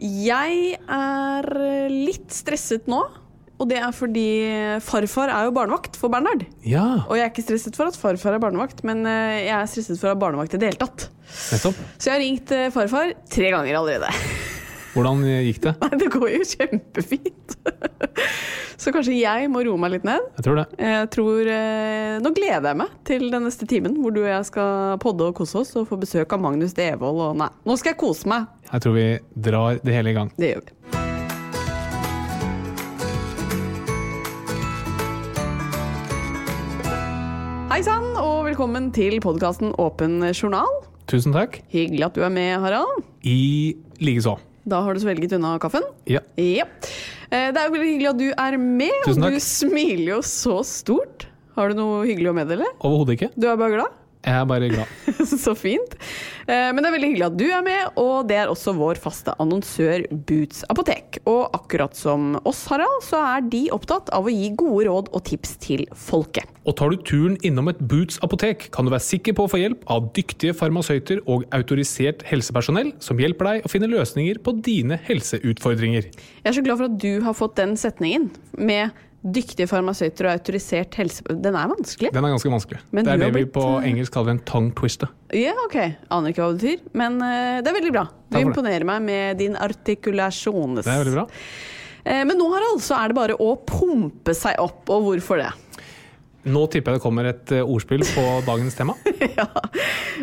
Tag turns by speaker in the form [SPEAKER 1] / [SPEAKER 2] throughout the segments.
[SPEAKER 1] Jeg er litt stresset nå. Og det er fordi farfar er jo barnevakt for Bernhard.
[SPEAKER 2] Ja,
[SPEAKER 1] Og jeg er ikke stresset for at farfar er barnevakt, men eh, jeg er stresset for å ha barnevakt i det hele tatt.
[SPEAKER 2] nettopp.
[SPEAKER 1] Så jeg har ringt eh, farfar tre ganger allerede.
[SPEAKER 2] Hvordan gikk det?
[SPEAKER 1] Nei, det går jo kjempefint. Så kanskje jeg må roe meg litt ned.
[SPEAKER 2] Jeg tror det.
[SPEAKER 1] Jeg tror, eh, Nå gleder jeg meg til den neste timen hvor du og jeg skal podde og kose oss og få besøk av Magnus Devold. Og nei, nå skal jeg kose meg.
[SPEAKER 2] Jeg tror vi drar det hele i gang.
[SPEAKER 1] Det gjør vi. Hei sann, og velkommen til podkasten Åpen journal.
[SPEAKER 2] Tusen takk.
[SPEAKER 1] Hyggelig at du er med, Harald.
[SPEAKER 2] I likeså.
[SPEAKER 1] Da har du svelget unna kaffen.
[SPEAKER 2] Ja.
[SPEAKER 1] Ja. Eh, Det er jo veldig hyggelig at du er med,
[SPEAKER 2] Tusen
[SPEAKER 1] og
[SPEAKER 2] takk.
[SPEAKER 1] du smiler jo så stort. Har du noe hyggelig å meddele?
[SPEAKER 2] Overhodet ikke.
[SPEAKER 1] Du er bare glad?
[SPEAKER 2] Jeg er bare glad.
[SPEAKER 1] Så fint. Eh, Men det er veldig hyggelig at du er med, og det er også vår faste annonsør Boots apotek. Og akkurat som oss, Harald, så er de opptatt av å gi gode råd og tips til folket.
[SPEAKER 2] Og tar du turen innom et Boots apotek, kan du være sikker på å få hjelp av dyktige farmasøyter og autorisert helsepersonell som hjelper deg å finne løsninger på dine helseutfordringer.
[SPEAKER 1] Jeg er så glad for at du har fått den setningen med dyktige farmasøyter og autorisert helse... Den er vanskelig.
[SPEAKER 2] Den er ganske vanskelig.
[SPEAKER 1] Men du
[SPEAKER 2] det er det
[SPEAKER 1] har
[SPEAKER 2] vi
[SPEAKER 1] blitt,
[SPEAKER 2] på
[SPEAKER 1] eh,
[SPEAKER 2] engelsk kaller en tongue twister.
[SPEAKER 1] Ja, ok. Aner ikke hva det betyr, men eh, det er veldig bra. Du
[SPEAKER 2] Takk for det.
[SPEAKER 1] imponerer meg med din artikulasjones.
[SPEAKER 2] Det er veldig bra.
[SPEAKER 1] Eh, Men nå, Harald, så er det bare å pumpe seg opp, og hvorfor det?
[SPEAKER 2] Nå tipper jeg det kommer et eh, ordspill på dagens tema.
[SPEAKER 1] Ja,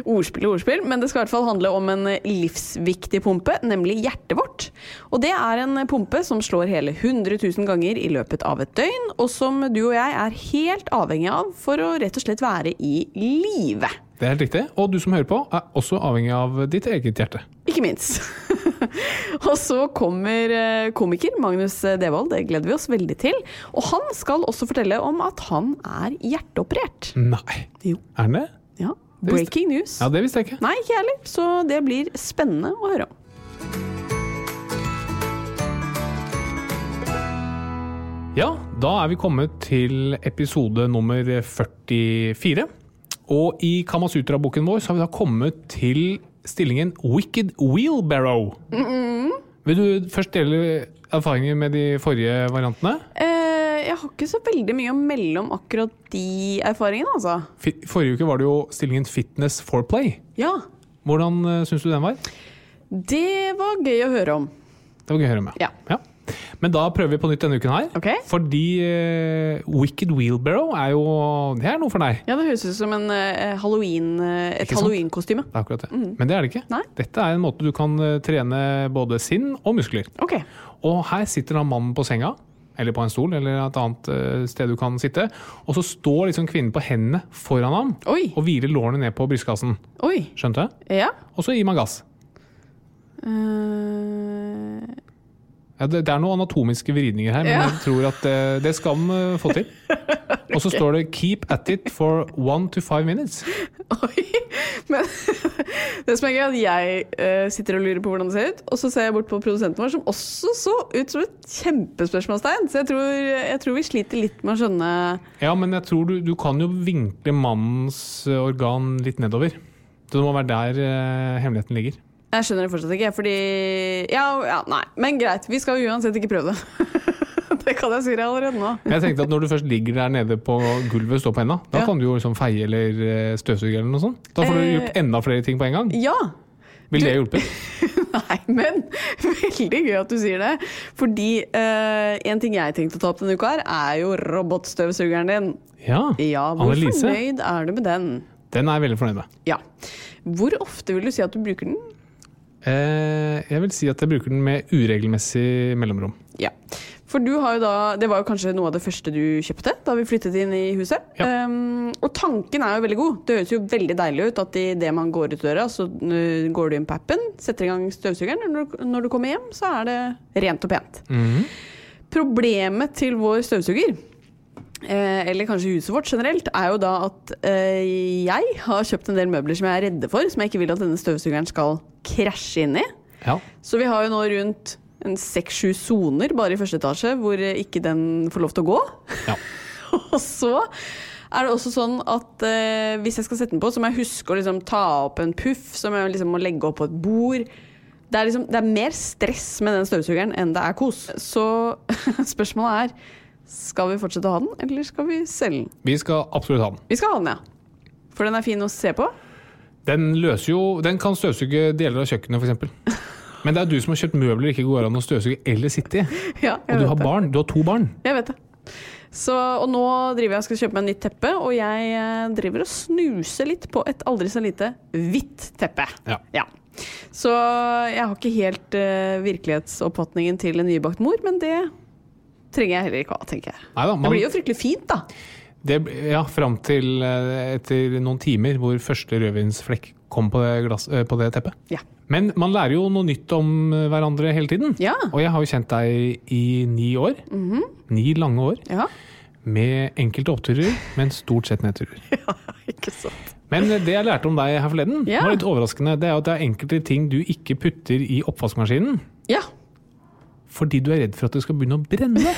[SPEAKER 1] ordspill og ordspill, men det skal i hvert fall handle om en livsviktig pumpe, nemlig hjertet vårt. Og det er en pumpe som slår hele 100 000 ganger i løpet av et døgn, og som du og jeg er helt avhengig av for å rett og slett være i live.
[SPEAKER 2] Det er helt riktig. Og du som hører på, er også avhengig av ditt eget hjerte.
[SPEAKER 1] Ikke minst. og så kommer eh, komiker Magnus Devold, det gleder vi oss veldig til. Og han skal også fortelle om at han er hjerteoperert.
[SPEAKER 2] Nei.
[SPEAKER 1] Jo.
[SPEAKER 2] Er den det?
[SPEAKER 1] Ja,
[SPEAKER 2] Det visste-
[SPEAKER 1] breaking news.
[SPEAKER 2] Ja, det visste jeg ikke.
[SPEAKER 1] Nei, ikke jeg heller, så det blir spennende å høre om.
[SPEAKER 2] Ja, da er vi kommet til episode nummer 44. Og i Kamasutra-boken vår så har vi da kommet til stillingen Wicked Wheelbarrow. Vil du først dele erfaringer med de forrige variantene?
[SPEAKER 1] Eh, jeg har ikke så veldig mye å melde om akkurat de erfaringene, altså.
[SPEAKER 2] Fi- Forrige uke var det jo stillingen Fitness for play.
[SPEAKER 1] Ja,
[SPEAKER 2] Hvordan uh, syns du den var?
[SPEAKER 1] det var gøy å høre om.
[SPEAKER 2] Det var gøy å høre med.
[SPEAKER 1] Ja.
[SPEAKER 2] Men da prøver vi på nytt denne uken her.
[SPEAKER 1] Ok.
[SPEAKER 2] Fordi eh, Wicked Wheelbarrow er jo Det er noe for deg.
[SPEAKER 1] Ja, det høres ut som en, eh, Halloween, eh, et
[SPEAKER 2] Ikke sant?
[SPEAKER 1] halloweenkostyme.
[SPEAKER 2] Det er akkurat det. Men det er det ikke.
[SPEAKER 1] Mm. Nei.
[SPEAKER 2] Dette er en måte du kan eh, trene både sinn og muskler.
[SPEAKER 1] Ok.
[SPEAKER 2] Og her sitter da mannen på senga, eller på en stol, eller et annet eh, sted du kan sitte. Og så står liksom kvinnen på hendene foran ham
[SPEAKER 1] Oi.
[SPEAKER 2] og hviler lårene ned på brystkassen.
[SPEAKER 1] Oi.
[SPEAKER 2] Skjønte?
[SPEAKER 1] Ja.
[SPEAKER 2] Og så gir man gass.
[SPEAKER 1] Eh,
[SPEAKER 2] Ja, det, det er noen anatomiske vridninger her, men
[SPEAKER 1] Ja.
[SPEAKER 2] jeg tror at eh, det skal man eh, få til. Og så står det 'keep at it for one to five minutes'.
[SPEAKER 1] oi. Men det som er gøy, er at jeg eh, sitter og lurer på hvordan det ser ut, og så ser jeg bort på produsenten vår, som også så ut som et kjempespørsmålstegn. Så jeg tror, jeg tror vi sliter litt med å skjønne
[SPEAKER 2] Ja, men jeg tror du, du kan jo vinkle mannens eh, organ litt nedover. Så det må være der eh, hemmeligheten ligger.
[SPEAKER 1] Jeg skjønner det fortsatt ikke, fordi Ja, ja nei. Men greit, vi skal uansett ikke prøve det. det kan jeg si deg allerede nå.
[SPEAKER 2] Men Jeg tenkte at Når du først ligger der nede på gulvet og står på henda, da
[SPEAKER 1] Ja.
[SPEAKER 2] kan du jo liksom feie eller eh, støvsuge eller noe sånt. Da får du
[SPEAKER 1] Eh.
[SPEAKER 2] gjort enda flere ting på en gang.
[SPEAKER 1] Ja!
[SPEAKER 2] Vil det hjelpe?
[SPEAKER 1] Nei, men veldig gøy at du sier det. Fordi eh, en ting jeg tenkte å ta opp denne uka, her er jo robotstøvsugeren din.
[SPEAKER 2] Ja.
[SPEAKER 1] Ja, hvor
[SPEAKER 2] Annelise,
[SPEAKER 1] fornøyd er du med den?
[SPEAKER 2] den er jeg veldig fornøyd med.
[SPEAKER 1] Ja. Hvor ofte vil du si at du bruker den?
[SPEAKER 2] Eh, jeg vil si at jeg bruker den med uregelmessig mellomrom.
[SPEAKER 1] Ja. For du har jo da Det var jo kanskje noe av det første du kjøpte da vi flyttet inn i huset.
[SPEAKER 2] Ja.
[SPEAKER 1] Um, og tanken er jo veldig god. Det høres jo veldig deilig ut at idet man går ut døra, så uh, går du inn på appen, setter i gang støvsugeren, og når, når du kommer hjem, så er det rent og pent. Problemet til vår støvsuger Eh, eller kanskje huset vårt generelt, er jo da at eh, jeg har kjøpt en del møbler som jeg er redde for, som jeg ikke vil at denne støvsugeren skal krasje inn i.
[SPEAKER 2] Ja.
[SPEAKER 1] Så vi har jo nå rundt en seks-sju soner bare i første etasje hvor eh, ikke den får lov til å gå.
[SPEAKER 2] Ja.
[SPEAKER 1] og så er det også sånn at eh, hvis jeg skal sette den på, så må jeg huske å liksom ta opp en puff, så må jeg liksom må legge opp på et bord. Det er, liksom, det er mer stress med den støvsugeren enn det er kos. Så spørsmålet er skal vi fortsette å ha den, eller skal vi selge den?
[SPEAKER 2] Vi skal absolutt ha den.
[SPEAKER 1] Vi skal ha den, ja. For den er fin å se på.
[SPEAKER 2] Den løser jo Den kan støvsuge deler av kjøkkenet, f.eks. Men det er du som har kjøpt møbler det ikke går an å støvsuge eller sitte i.
[SPEAKER 1] Ja, jeg
[SPEAKER 2] Og du
[SPEAKER 1] vet
[SPEAKER 2] har
[SPEAKER 1] det.
[SPEAKER 2] barn. Du har to barn.
[SPEAKER 1] Jeg vet det. Så, og nå driver jeg og skal kjøpe meg nytt teppe, og jeg eh, driver og snuser litt på et aldri så lite hvitt teppe.
[SPEAKER 2] Ja.
[SPEAKER 1] Så jeg har ikke helt eh, virkelighetsoppfatningen til en nybakt mor, men det trenger jeg heller ikke ha, tenker jeg.
[SPEAKER 2] Neida, man-
[SPEAKER 1] Det blir jo fryktelig fint, da.
[SPEAKER 2] Det, ja, fram til eh, etter noen timer hvor første rødvinsflekk kom på det, glass, eh, på det teppet.
[SPEAKER 1] Ja.
[SPEAKER 2] Men man lærer jo noe nytt om eh, hverandre hele tiden.
[SPEAKER 1] Ja.
[SPEAKER 2] Og jeg har jo kjent deg i ni år. Ni lange år.
[SPEAKER 1] Ja,
[SPEAKER 2] Med enkelte oppturer, men stort sett nedturer.
[SPEAKER 1] ikke sant.
[SPEAKER 2] Men eh, det jeg lærte om deg her forleden,
[SPEAKER 1] Ja.
[SPEAKER 2] var litt overraskende. Det er jo at det er enkelte ting du ikke putter i oppvaskmaskinen
[SPEAKER 1] Ja,
[SPEAKER 2] fordi du er redd for at det skal begynne å brenne.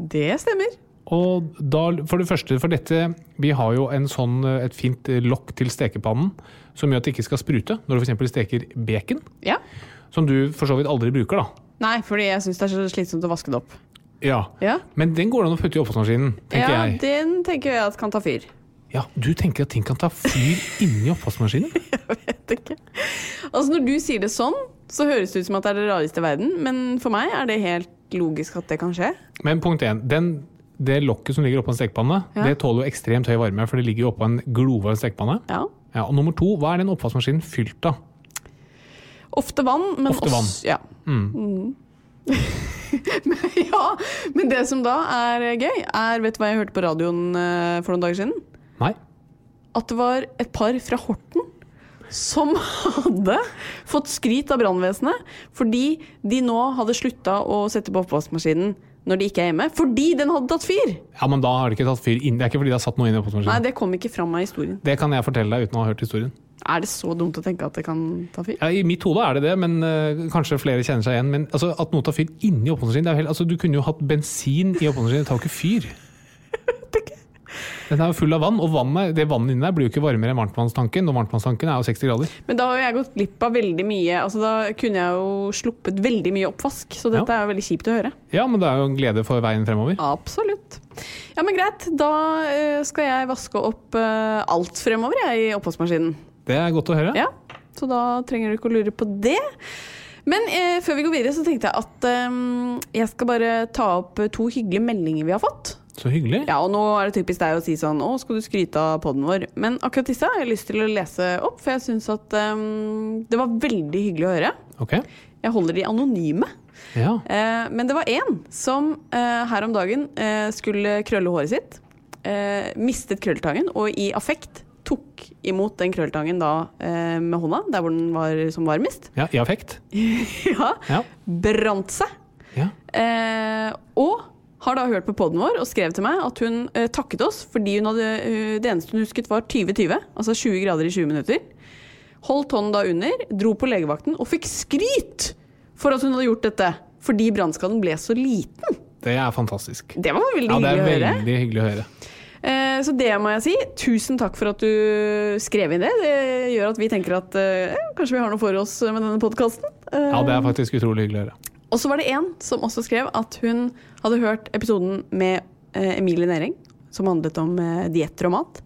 [SPEAKER 1] det stemmer.
[SPEAKER 2] Og da, for det første, for dette Vi har jo en sånn, et fint lokk til stekepannen som gjør at det ikke skal sprute når du f.eks. steker bacon.
[SPEAKER 1] Ja.
[SPEAKER 2] Som du for så vidt aldri bruker, da.
[SPEAKER 1] Nei, fordi jeg syns det er så slitsomt å vaske det opp.
[SPEAKER 2] Ja.
[SPEAKER 1] Ja,
[SPEAKER 2] Men den går det an å putte i oppvaskmaskinen, tenker
[SPEAKER 1] ja
[SPEAKER 2] jeg.
[SPEAKER 1] den tenker jeg at kan ta fyr.
[SPEAKER 2] Ja, Du tenker at ting kan ta fyr inni oppvaskmaskinen?
[SPEAKER 1] vet ikke. Altså Når du sier det sånn, så høres det ut som at det er det rareste i verden, men for meg er det helt logisk at det kan skje.
[SPEAKER 2] Men punkt én. Den, det lokket som ligger oppå en stekepanne,
[SPEAKER 1] Ja.
[SPEAKER 2] det tåler jo ekstremt høy varme, for det ligger jo oppå en glovarm stekepanne.
[SPEAKER 1] Ja.
[SPEAKER 2] Ja, og nummer to, hva er den oppvaskmaskinen fylt av?
[SPEAKER 1] Ofte vann, men
[SPEAKER 2] Ofte vann.
[SPEAKER 1] også- Ja. Mm. men, ja. Men det som da er gøy, er Vet du hva jeg hørte på radioen eh, for noen dager siden?
[SPEAKER 2] Nei.
[SPEAKER 1] At det var et par fra Horten som hadde fått skryt av brannvesenet fordi de nå hadde slutta å sette på oppvaskmaskinen når de ikke er hjemme, fordi den hadde tatt fyr!
[SPEAKER 2] Ja, men da har det ikke tatt fyr inn. Det er ikke fordi det har satt noe inn i oppvaskmaskinen.
[SPEAKER 1] Nei, det kom ikke fram av historien.
[SPEAKER 2] Det kan jeg fortelle deg uten å ha hørt historien.
[SPEAKER 1] Er det så dumt å tenke at det kan ta fyr?
[SPEAKER 2] Ja, I mitt hode er det det, men eh, kanskje flere kjenner seg igjen. Men altså, at noe tar fyr inni oppvaskmaskinen det er jo helt- altså, Du kunne jo hatt bensin i oppvaskmaskinen, det tar jo ikke fyr. Den er jo full av vann, og vannet, det vannet inni der blir jo ikke varmere enn varmtvannstanken. Og varmtvannstanken er jo 60 grader.
[SPEAKER 1] Men da har jo jeg gått glipp av veldig mye. Altså, da kunne jeg jo sluppet veldig mye oppvask, så dette er jo veldig kjipt å høre.
[SPEAKER 2] Ja, men det er jo en glede for veien fremover.
[SPEAKER 1] Absolutt. Ja, men greit. Da eh, skal jeg vaske opp eh, alt fremover, jeg, i oppvaskmaskinen.
[SPEAKER 2] Det er godt å høre.
[SPEAKER 1] Ja, så da trenger du ikke å lure på det. Men eh, før vi går videre, så tenkte jeg at eh, jeg skal bare ta opp eh, to hyggelige meldinger vi har fått.
[SPEAKER 2] Så hyggelig.
[SPEAKER 1] Ja, og nå er det typisk deg å si sånn Å, skal du skryte av podden vår? Men akkurat disse har jeg lyst til å lese opp, for jeg syns at ehm, det var veldig hyggelig å høre.
[SPEAKER 2] Ok.
[SPEAKER 1] Jeg holder de anonyme.
[SPEAKER 2] Ja.
[SPEAKER 1] Eh, men det var én som eh, her om dagen eh, skulle krølle håret sitt. Eh, mistet krølltangen, og i affekt tok imot den krølltangen da eh, med hånda, der hvor den var som varmest.
[SPEAKER 2] ja. I affekt.
[SPEAKER 1] ja.
[SPEAKER 2] Ja.
[SPEAKER 1] Brant seg.
[SPEAKER 2] ja.
[SPEAKER 1] Eh, og har da hørt på poden vår og skrev til meg at hun eh, takket oss fordi hun hadde, eh, det eneste hun husket var 20-20, altså 20 grader i 20 minutter. Holdt hånden da under, dro på legevakten og fikk skryt for at hun hadde gjort dette. Fordi brannskaden ble så liten.
[SPEAKER 2] Det er fantastisk.
[SPEAKER 1] Det var veldig
[SPEAKER 2] Ja, det er
[SPEAKER 1] hyggelig å høre.
[SPEAKER 2] veldig hyggelig å høre.
[SPEAKER 1] Eh, Så det må jeg si. Tusen takk for at du skrev inn det. Det gjør at vi tenker at eh, kanskje vi har noe for oss med denne Eh, podkasten.
[SPEAKER 2] Ja, det er faktisk utrolig hyggelig å høre.
[SPEAKER 1] Og så var det en som også skrev at hun hadde hørt episoden med eh, Emilie Næring, som handlet om eh, dietter og mat,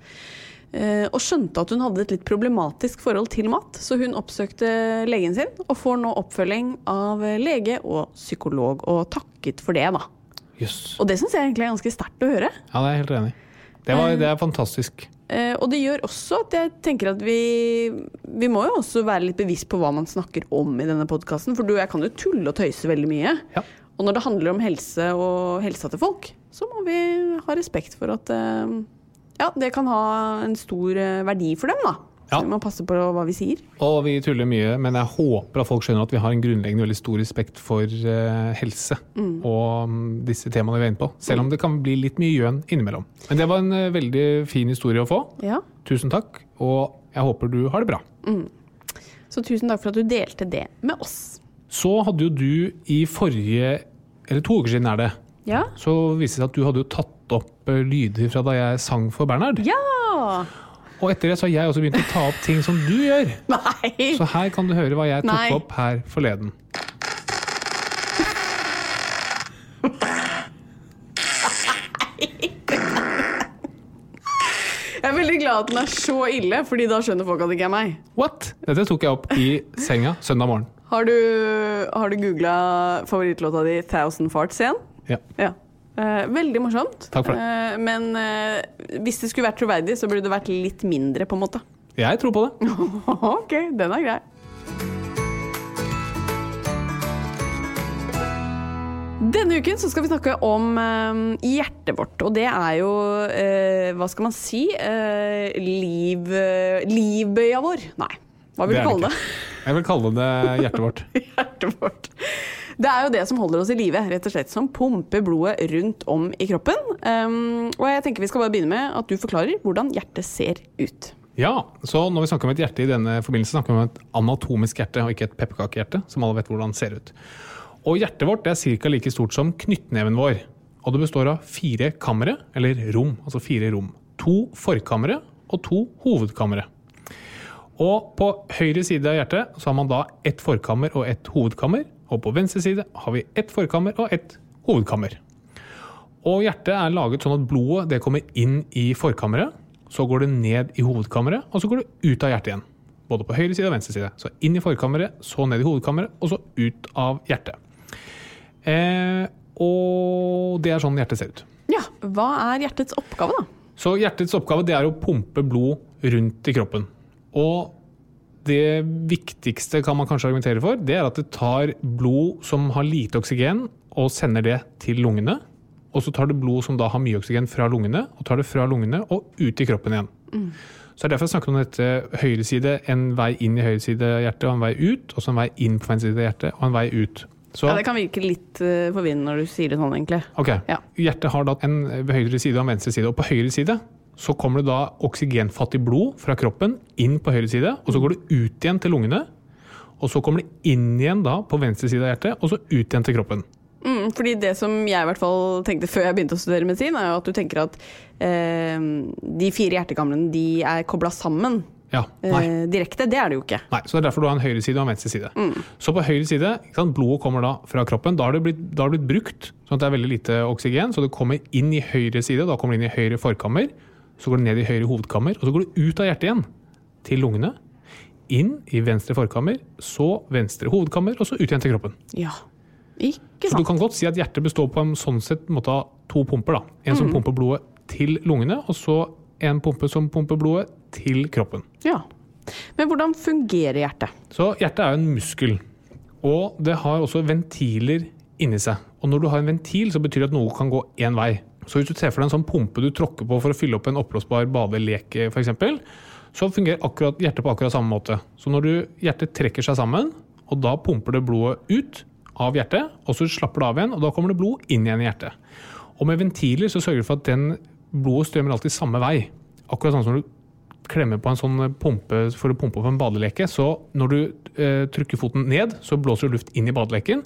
[SPEAKER 1] eh, og skjønte at hun hadde et litt problematisk forhold til mat, så hun oppsøkte legen sin og får nå oppfølging av eh, lege og psykolog, og takket for det, da.
[SPEAKER 2] Jøss.
[SPEAKER 1] Og det syns jeg egentlig er ganske sterkt å høre.
[SPEAKER 2] Ja, det er jeg helt enig. i. Det, var, det er fantastisk.
[SPEAKER 1] Eh, og det gjør også at jeg tenker at vi Vi må jo også være litt bevisst på hva man snakker om i denne podkasten. For du og jeg kan jo tulle og tøyse veldig mye.
[SPEAKER 2] Ja.
[SPEAKER 1] Og når det handler om helse og helsa til folk, så må vi ha respekt for at eh, ja, det kan ha en stor eh, verdi for dem, da.
[SPEAKER 2] Ja.
[SPEAKER 1] Så vi må passe på hva vi sier.
[SPEAKER 2] Og vi tuller mye, men jeg håper at folk skjønner at vi har en grunnleggende veldig stor respekt for eh, helse og mm, disse temaene vi er inne på. Selv om det kan bli litt mye gjøn innimellom. Men det var en eh, veldig fin historie å få.
[SPEAKER 1] Ja.
[SPEAKER 2] Tusen takk, og jeg håper du har det bra.
[SPEAKER 1] Så tusen takk for at du delte det med oss.
[SPEAKER 2] Så hadde jo du i forrige, eller to uker siden er det,
[SPEAKER 1] Ja.
[SPEAKER 2] så viste det seg at du hadde jo tatt opp eh, lyder fra da jeg sang for Bernhard.
[SPEAKER 1] Ja!
[SPEAKER 2] Og etter det så har jeg også begynt å ta opp ting som du gjør.
[SPEAKER 1] Nei!
[SPEAKER 2] Så her kan du høre hva jeg tok
[SPEAKER 1] Nei.
[SPEAKER 2] opp her forleden.
[SPEAKER 1] Jeg er veldig glad at den er så ille, fordi da skjønner folk at det ikke er meg.
[SPEAKER 2] What? Dette tok jeg opp i senga søndag morgen.
[SPEAKER 1] Har du, har du googla favorittlåta di 'Thousand Farts' igjen?
[SPEAKER 2] Ja.
[SPEAKER 1] Ja. Eh, veldig morsomt.
[SPEAKER 2] Takk for det.
[SPEAKER 1] Eh, men eh, hvis det skulle vært troverdig, så burde det vært litt mindre, på en måte.
[SPEAKER 2] Jeg tror på det.
[SPEAKER 1] OK, den er grei. Denne uken så skal vi snakke om eh, hjertet vårt, og det er jo eh, Hva skal man si? Eh, liv, eh, livbøya vår. Nei, hva vil du
[SPEAKER 2] Det er det
[SPEAKER 1] kalle
[SPEAKER 2] ikke.
[SPEAKER 1] det?
[SPEAKER 2] Jeg vil kalle det hjertet vårt.
[SPEAKER 1] hjertet vårt. Det er jo det som holder oss i live, rett og slett. Som pumper blodet rundt om i kroppen. Um, og jeg tenker vi skal bare begynne med at du forklarer hvordan hjertet ser ut.
[SPEAKER 2] Ja, så når vi snakker om et hjerte i denne forbindelse, snakker vi om et anatomisk hjerte, og ikke et pepperkakehjerte, som alle vet hvordan ser ut. Og hjertet vårt det er ca. like stort som knyttneven vår. Og det består av fire kamre, eller rom. Altså fire rom. To forkamre og to hovedkamre. Og på høyre side av hjertet så har man da ett forkammer og ett hovedkammer. Og på venstre side har vi ett forkammer og ett hovedkammer. Og hjertet er laget sånn at blodet det kommer inn i forkammeret, så går det ned i hovedkammeret, og så går det ut av hjertet igjen. Både på høyre side og venstre side. Så inn i forkammeret, så ned i hovedkammeret, og så ut av hjertet. Eh, og det er sånn hjertet ser ut.
[SPEAKER 1] Ja, Hva er hjertets oppgave, da?
[SPEAKER 2] Så hjertets oppgave det er å pumpe blod rundt i kroppen. Og det viktigste kan man kanskje argumentere for, det er at det tar blod som har lite oksygen, og sender det til lungene. Og så tar det blod som da har mye oksygen fra lungene, og tar det fra lungene og ut i kroppen igjen.
[SPEAKER 1] Mm.
[SPEAKER 2] Så det er derfor jeg snakker om dette høyre side, en vei inn i høyre side av hjertet, og en vei ut, og så en vei inn på venstre side av hjertet, og en vei ut. Så,
[SPEAKER 1] Ja, Det kan virke litt eh, forvirrende når du sier det sånn, egentlig.
[SPEAKER 2] Ok,
[SPEAKER 1] Ja.
[SPEAKER 2] Hjertet har da en eh, høyre side og en venstre side. Og på høyre side så kommer det da oksygenfattig blod fra kroppen inn på høyre side, og så går det ut igjen til lungene. Og så kommer det inn igjen da på venstre side av hjertet, og så ut igjen til kroppen.
[SPEAKER 1] Mm, fordi det som jeg i hvert fall tenkte før jeg begynte å studere medisin, er jo at du tenker at eh, de fire hjertekamrene de er kobla sammen
[SPEAKER 2] Ja, nei.
[SPEAKER 1] eh, direkte. Det er det jo ikke.
[SPEAKER 2] Nei, så Det er derfor du har en høyre side og en venstre side. Så på høyre side, ikke sant, Blodet kommer da fra kroppen. Da har det blitt, da har det blitt brukt, sånn at det er veldig lite oksygen. Så det kommer inn i høyre side, da kommer det inn i høyre forkammer. Så går det ned i høyre hovedkammer, og så går det ut av hjertet igjen. Til lungene. Inn i venstre forkammer, så venstre hovedkammer, og så ut igjen til kroppen.
[SPEAKER 1] Ja. Ikke
[SPEAKER 2] Så du
[SPEAKER 1] sant.
[SPEAKER 2] kan godt si at hjertet består på en sånn sett måte av to pumper. da. En som pumper blodet til lungene, og så en pumpe som pumper blodet til kroppen.
[SPEAKER 1] Ja. Men hvordan fungerer hjertet?
[SPEAKER 2] Så hjertet er jo en muskel, og det har også ventiler inni seg. Og når du har en ventil, så betyr det at noe kan gå én vei. Så hvis du ser for deg en sånn pumpe du tråkker på for å fylle opp en oppblåsbar badeleke, f.eks., så fungerer akkurat, hjertet på akkurat samme måte. Så når du, hjertet trekker seg sammen, og da pumper det blodet ut av hjertet, og så slapper det av igjen, og da kommer det blod inn igjen i hjertet. Og med ventiler så sørger du for at den blodet strømmer alltid samme vei. Akkurat sånn som du klemmer på en sånn pumpe for å pumpe opp en badeleke. Så når du eh, trykker foten ned, så blåser du luft inn i badeleken.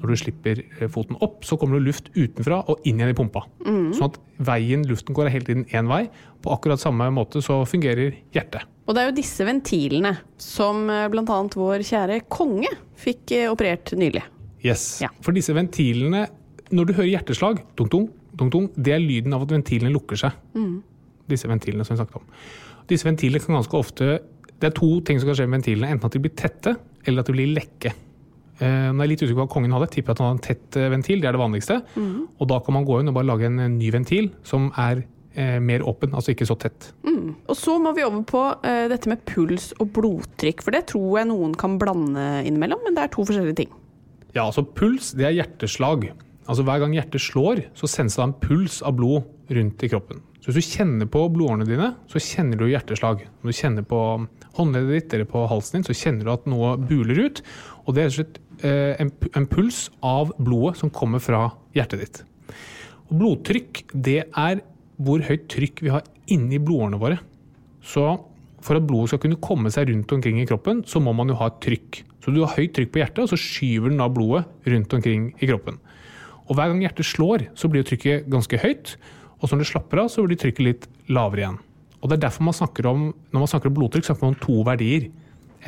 [SPEAKER 2] Når du slipper eh, foten opp, så kommer det luft utenfra og inn igjen i pumpa. Sånn at veien luften går er hele tiden én vei. På akkurat samme måte så fungerer hjertet.
[SPEAKER 1] Og det er jo disse ventilene som eh, blant annet vår kjære konge fikk eh, operert nylig.
[SPEAKER 2] Yes.
[SPEAKER 1] Ja.
[SPEAKER 2] For disse ventilene Når du hører hjerteslag, dunk, dunk, dunk, dunk, det er lyden av at ventilene lukker seg. Disse ventilene som vi snakket om. Disse ventilene kan ganske ofte Det er to ting som kan skje med ventilene. Enten at de blir tette, eller at de blir lekke. Eh, Nå er jeg litt usikker på hva kongen hadde. Tipper at han hadde en tett eh, ventil. Det er det vanligste. Og da kan man gå inn og bare lage en eh, ny ventil som er eh, mer åpen, altså ikke så tett.
[SPEAKER 1] Og så må vi over på eh, dette med puls og blodtrykk, for det tror jeg noen kan blande innimellom, men det er to forskjellige ting.
[SPEAKER 2] Ja, altså puls, det er hjerteslag. Altså Hver gang hjertet slår, så sendes det en puls av blod rundt i kroppen. Så hvis du kjenner på blodårene dine, så kjenner du hjerteslag. Når du kjenner på håndleddet ditt eller på halsen din, så kjenner du at noe buler ut. Og det er rett og slett eh, en, pu- en puls av blodet som kommer fra hjertet ditt. Og blodtrykk, det er hvor høyt trykk vi har inni blodårene våre. Så for at blodet skal kunne komme seg rundt omkring i kroppen, så må man jo ha et trykk. Så du har høyt trykk på hjertet, og så skyver den da blodet rundt omkring i kroppen. Og hver gang hjertet slår, så blir jo trykket ganske høyt, og så når det slapper av, så blir trykket litt lavere igjen. Og det er derfor man snakker om, når man snakker om blodtrykk, snakker man om to verdier.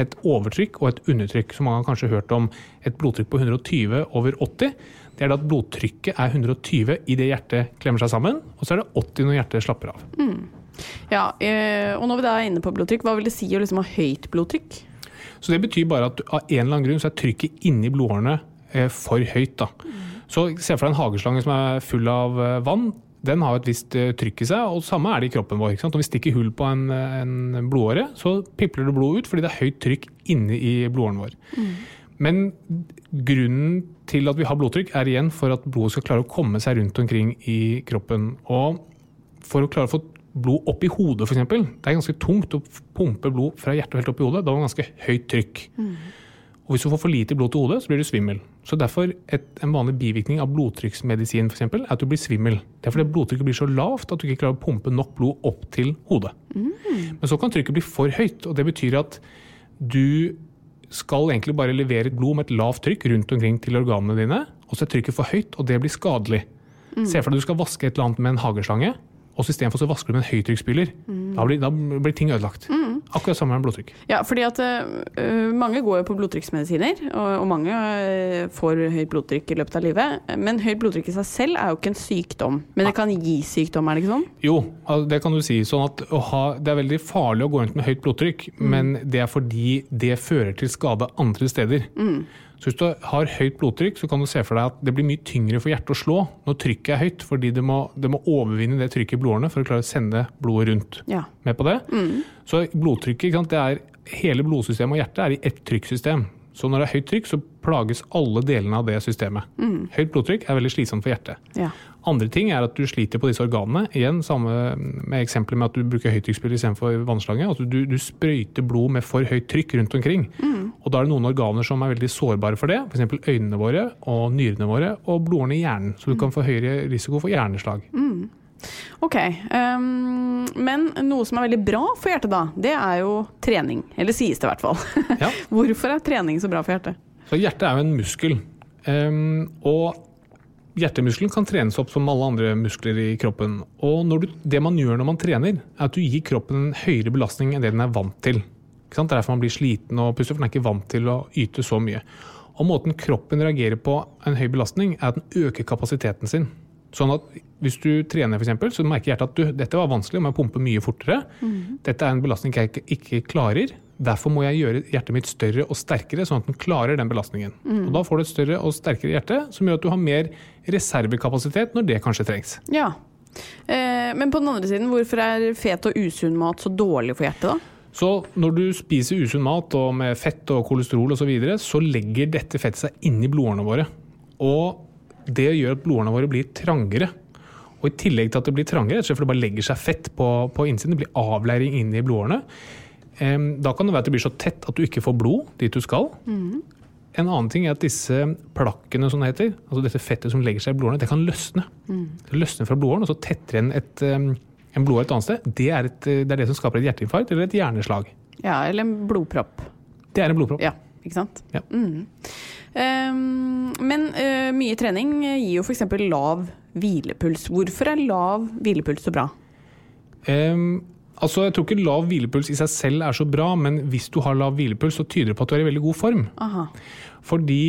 [SPEAKER 2] Et overtrykk og et undertrykk, som man har kanskje hørt om et blodtrykk på 120 over 80. Det er da at blodtrykket er 120 idet hjertet klemmer seg sammen, og så er det 80 når hjertet slapper av.
[SPEAKER 1] Ja, eh, og når vi da er inne på blodtrykk, hva vil det si å liksom ha høyt blodtrykk?
[SPEAKER 2] Så det betyr bare at av en eller annen grunn så er trykket inni blodårene eh, for høyt. Da. Så se for deg en hageslange som er full av eh, vann. Den har jo et visst eh, trykk i seg, og samme er det i kroppen vår. Ikke sant? Om vi stikker hull på en, eh, en blodåre, så pipler det blod ut fordi det er høyt trykk inne i blodåren vår. Men grunnen til at vi har blodtrykk, er igjen for at blodet skal klare å komme seg rundt omkring i kroppen. Og for å klare å få blod opp i hodet, f.eks. Det er ganske tungt å pumpe blod fra hjertet og helt opp i hodet. Da har man ganske høyt trykk. Og hvis du får for lite blod til hodet, så blir du svimmel. Så derfor et, en vanlig bivirkning av blodtrykksmedisin for eksempel, er at du blir svimmel. Det er fordi blodtrykket blir så lavt at du ikke klarer å pumpe nok blod opp til hodet. Men så kan trykket bli for høyt, og det betyr at du skal egentlig bare levere blod med et lavt trykk rundt omkring til organene dine, og så er trykket for høyt, og det blir skadelig. Se for deg at du skal vaske et eller annet med en hageslange, og så istedenfor så vasker du med en høytrykksspyler. Da, blir, da blir ting ødelagt. Akkurat samme med blodtrykk.
[SPEAKER 1] Ja, fordi at eh, mange går jo på blodtrykksmedisiner, og, og mange eh, får høyt blodtrykk i løpet av livet. Men høyt blodtrykk i seg selv er jo ikke en sykdom, men det kan gi sykdom, er det ikke sånn?
[SPEAKER 2] Jo, al- det kan du si. sånn at å ha, Det er veldig farlig å gå rundt med høyt blodtrykk, men det er fordi det fører til skade andre steder. Så hvis du har høyt blodtrykk, så kan du se for deg at det blir mye tyngre for hjertet å slå når trykket er høyt, fordi det må, det må overvinne det trykket i blodårene for å klare å sende blodet rundt.
[SPEAKER 1] Ja.
[SPEAKER 2] Med på det? Så blodtrykket, ikke sant? det er hele blodsystemet og hjertet er i ett trykksystem. Så når det er høyt trykk, så plages alle delene av det systemet. Høyt blodtrykk er veldig slitsomt for hjertet.
[SPEAKER 1] Ja.
[SPEAKER 2] Andre ting er at du sliter på disse organene. Igjen samme med eksempelet med at du bruker høytrykksspill istedenfor vannslange. Altså du, du sprøyter blod med for høyt trykk rundt omkring. Og da er det noen organer som er veldig sårbare for det. F.eks. øynene våre og nyrene våre og blodårene i hjernen. Så du kan få høyere risiko for hjerneslag.
[SPEAKER 1] Ok, ehm, men noe som er veldig bra for hjertet da, det er jo trening. Eller sies det i hvert fall.
[SPEAKER 2] Ja.
[SPEAKER 1] Hvorfor er trening så bra for hjertet?
[SPEAKER 2] Så hjertet er jo en muskel. Ehm, og hjertemuskelen kan trenes opp som alle andre muskler i kroppen. Og når du, det man gjør når man trener, er at du gir kroppen en høyere belastning enn det den er vant til. Ikke sant? Det er derfor man blir sliten og puster, for den er ikke vant til å yte så mye. Og måten kroppen reagerer på en høy belastning, er at den øker kapasiteten sin. Sånn at hvis du trener, for eksempel, så merker hjertet at du, dette var vanskelig, jeg må pumpe mye fortere. Dette er en belastning jeg ikke, ikke klarer. Derfor må jeg gjøre hjertet mitt større og sterkere, sånn at den klarer den belastningen. Og da får du et større og sterkere hjerte, som gjør at du har mer reservekapasitet når det kanskje trengs.
[SPEAKER 1] Ja. Eh, men på den andre siden, hvorfor er fet og usunn mat så dårlig for hjertet da?
[SPEAKER 2] Så når du spiser usunn mat og med fett og kolesterol osv., så, videre, så legger dette fettet seg inni blodårene våre. Og det gjør at blodårene våre blir trangere. Og i tillegg til at det blir trangere, rett og slett fordi det bare legger seg fett på, på innsiden, det blir avleiring inni blodårene, em, da kan det være at det blir så tett at du ikke får blod dit du skal. En annen ting er at disse plakkene som det heter, altså dette fettet som legger seg i blodårene, det kan løsne. Det løsner fra blodåren, og så tetter en et, um, en blodåre et annet sted. Det er, et, eh, det er det som skaper et hjerteinfarkt eller et hjerneslag.
[SPEAKER 1] Ja, eller en blodpropp.
[SPEAKER 2] Det er en blodpropp.
[SPEAKER 1] Ja, ikke sant?
[SPEAKER 2] Ja.
[SPEAKER 1] Mm. Ehm, men eh, mye trening gir jo f.eks. lav hvilepuls. Hvorfor er lav hvilepuls så bra?
[SPEAKER 2] Ehm, altså, jeg tror ikke lav hvilepuls i seg selv er så bra, men hvis du har lav hvilepuls, så tyder det på at du er i veldig god form.
[SPEAKER 1] Aha.
[SPEAKER 2] Fordi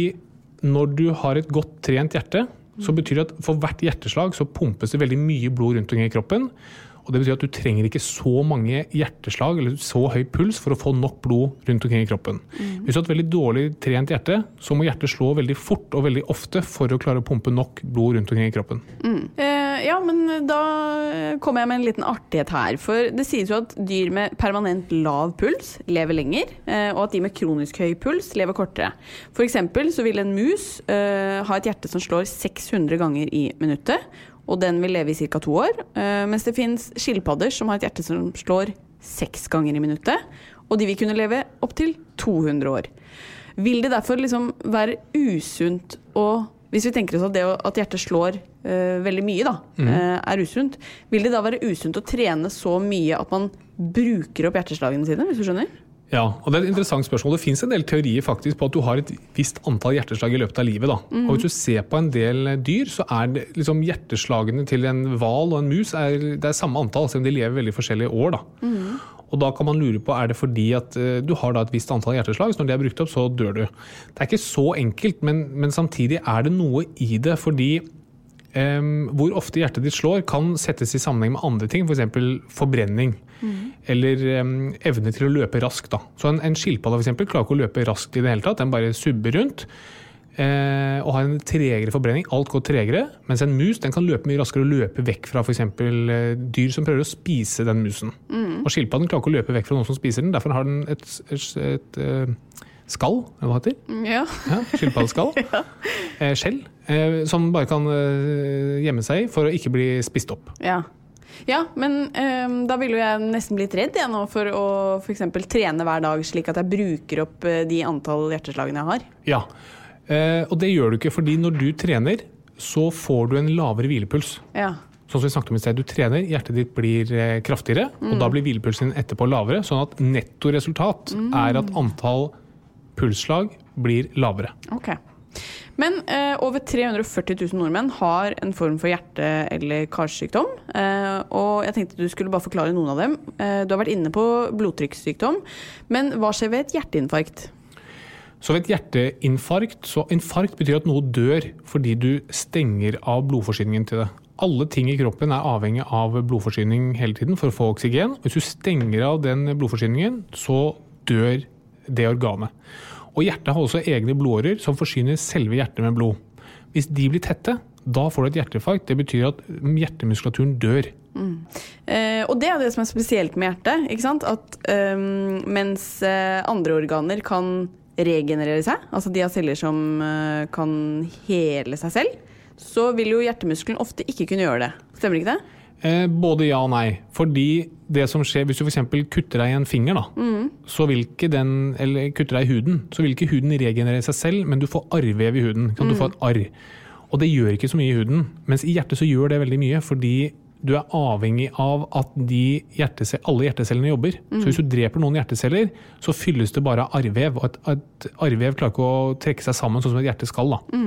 [SPEAKER 2] når du har et godt trent hjerte,
[SPEAKER 1] Mm.
[SPEAKER 2] så betyr det at for hvert hjerteslag så pumpes det veldig mye blod rundt omkring i kroppen. Og det betyr at du trenger ikke så mange hjerteslag eller så høy puls for å få nok blod rundt omkring i kroppen.
[SPEAKER 1] Mm.
[SPEAKER 2] Hvis du har et veldig dårlig trent hjerte, så må hjertet slå veldig fort og veldig ofte for å klare å pumpe nok blod rundt omkring i kroppen.
[SPEAKER 1] Eh, ja, men da kommer jeg med en liten artighet her. For det sies jo at dyr med permanent lav puls lever lenger, eh, og at de med kronisk høy puls lever kortere. For eksempel så vil en mus eh, ha et hjerte som slår 600 ganger i minuttet, og den vil leve i ca. to år. Eh, mens det fins skilpadder som har et hjerte som slår seks ganger i minuttet, og de vil kunne leve opptil 200 år. Vil det derfor liksom være usunt å Hvis vi tenker oss at det å- at hjertet slår eh, veldig mye, da, eh, er usunt, vil det da være usunt å trene så mye at man bruker opp hjerteslagene sine, hvis du skjønner?
[SPEAKER 2] Ja, og det er et interessant spørsmål. Det fins en del teorier faktisk på at du har et visst antall hjerteslag i løpet av livet. Da. Og Hvis du ser på en del dyr, så er det liksom hjerteslagene til en hval og en mus er, det er samme antall, selv om de lever veldig forskjellige år. Da. Og da kan man lure på er det fordi at eh, du har da et visst antall hjerteslag, så når de er brukt opp, så dør du. Det er ikke så enkelt, men, men samtidig er det noe i det. fordi Ehm, hvor ofte hjertet ditt slår kan settes i sammenheng med andre ting, f.eks. forbrenning. Eller ehm, evne til å løpe raskt. Da. Så en, en skilpadde for eksempel, klarer ikke å løpe raskt i det hele tatt, den bare subber rundt. eh, og har en tregere forbrenning. Alt går tregere. Mens en mus den kan løpe mye raskere og løpe vekk fra f.eks. Uh, dyr som prøver å spise den musen. Og skilpadden klarer ikke å løpe vekk fra noen som spiser den, derfor har den et, et, et eh, skall, eller hva det heter.
[SPEAKER 1] Ja.
[SPEAKER 2] Ja, Skilpaddeskall. eh, skjell. Eh, som bare kan eh, gjemme seg i for å ikke bli spist opp.
[SPEAKER 1] Ja, ja men eh, da ville jo jeg nesten blitt redd jeg nå for å f.eks. trene hver dag slik at jeg bruker opp eh, de antall hjerteslagene jeg har.
[SPEAKER 2] Ja. Eh, og det gjør du ikke, fordi når du trener, så får du en lavere hvilepuls.
[SPEAKER 1] Ja.
[SPEAKER 2] Sånn som vi snakket om i sted, Du trener, hjertet ditt blir eh, kraftigere, og da blir hvilepulsen din etterpå lavere. Sånn at netto resultat er at antall pulsslag blir lavere.
[SPEAKER 1] Ok. Men eh, over 340 000 nordmenn har en form for hjerte- eller karsykdom. Eh, og jeg tenkte du skulle bare forklare noen av dem. Eh, du har vært inne på blodtrykkssykdom. Men hva skjer ved et hjerteinfarkt?
[SPEAKER 2] Så ved et hjerteinfarkt så Infarkt betyr at noe dør fordi du stenger av blodforsyningen til det. Alle ting i kroppen er avhengig av blodforsyning hele tiden for å få oksygen. Hvis du stenger av den blodforsyningen, så dør det organet. Og hjertet har også egne blodårer som forsyner selve hjertet med blod. Hvis de blir tette, da får du et hjerteinfarkt. Det betyr at hjertemuskulaturen dør.
[SPEAKER 1] Eh, og det er det som er spesielt med hjertet. ikke sant? At eh, mens eh, andre organer kan regenerere seg, altså de har celler som eh, kan hele seg selv, så vil jo hjertemuskelen ofte ikke kunne gjøre det. Stemmer ikke det?
[SPEAKER 2] Eh, både ja og nei. Fordi det som skjer hvis du f.eks. kutter deg i en finger, da, så vil ikke den, eller kutter deg i huden, så vil ikke huden regenerere seg selv, men du får arrvev i huden. Kan du få et arr. Og det gjør ikke så mye i huden. Mens i hjertet så gjør det veldig mye, fordi du er avhengig av at de hjertece- alle hjertecellene jobber. Så hvis du dreper noen hjerteceller, så fylles det bare av arrvev. Og et, et arrvev klarer ikke å trekke seg sammen sånn som et hjerte skal. Da.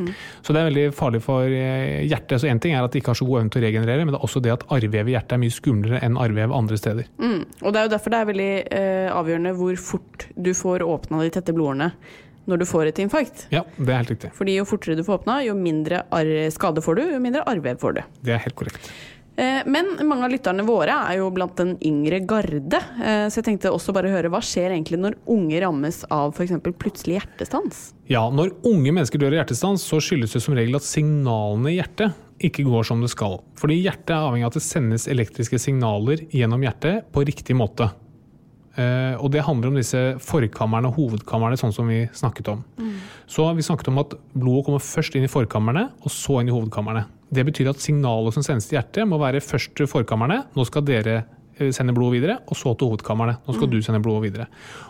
[SPEAKER 2] Så det er veldig farlig for eh, hjertet. Så én ting er at det ikke har så god evne til å regenerere, men det er også det at arrvev i hjertet er mye skumlere enn arrvev andre steder.
[SPEAKER 1] Mm. Og det er jo derfor det er veldig eh, avgjørende hvor fort du får åpna de tette blodårene når du får et infarkt.
[SPEAKER 2] Ja, det er helt riktig.
[SPEAKER 1] Fordi jo fortere du får åpna, jo mindre arr- skade får du, jo mindre arrvev får du.
[SPEAKER 2] Det er helt korrekt.
[SPEAKER 1] Eh, Men mange av lytterne våre er jo blant den yngre garde, eh, så jeg tenkte også bare høre hva skjer egentlig når unge rammes av f.eks. plutselig hjertestans?
[SPEAKER 2] Ja, når unge mennesker dør av hjertestans, så skyldes det som regel at signalene i hjertet ikke går som det skal. Fordi hjertet er avhengig av at det sendes elektriske signaler gjennom hjertet på riktig måte. Eh, og det handler om disse forkamrene og hovedkamrene, sånn som vi snakket om. Så vi snakket om at blodet kommer først inn i forkamrene, og så inn i hovedkamrene. Det betyr at signalet som sendes til hjertet, må være først til forkamrene. Nå skal dere eh, sende blodet videre, og så til hovedkamrene. Nå skal du sende blodet videre.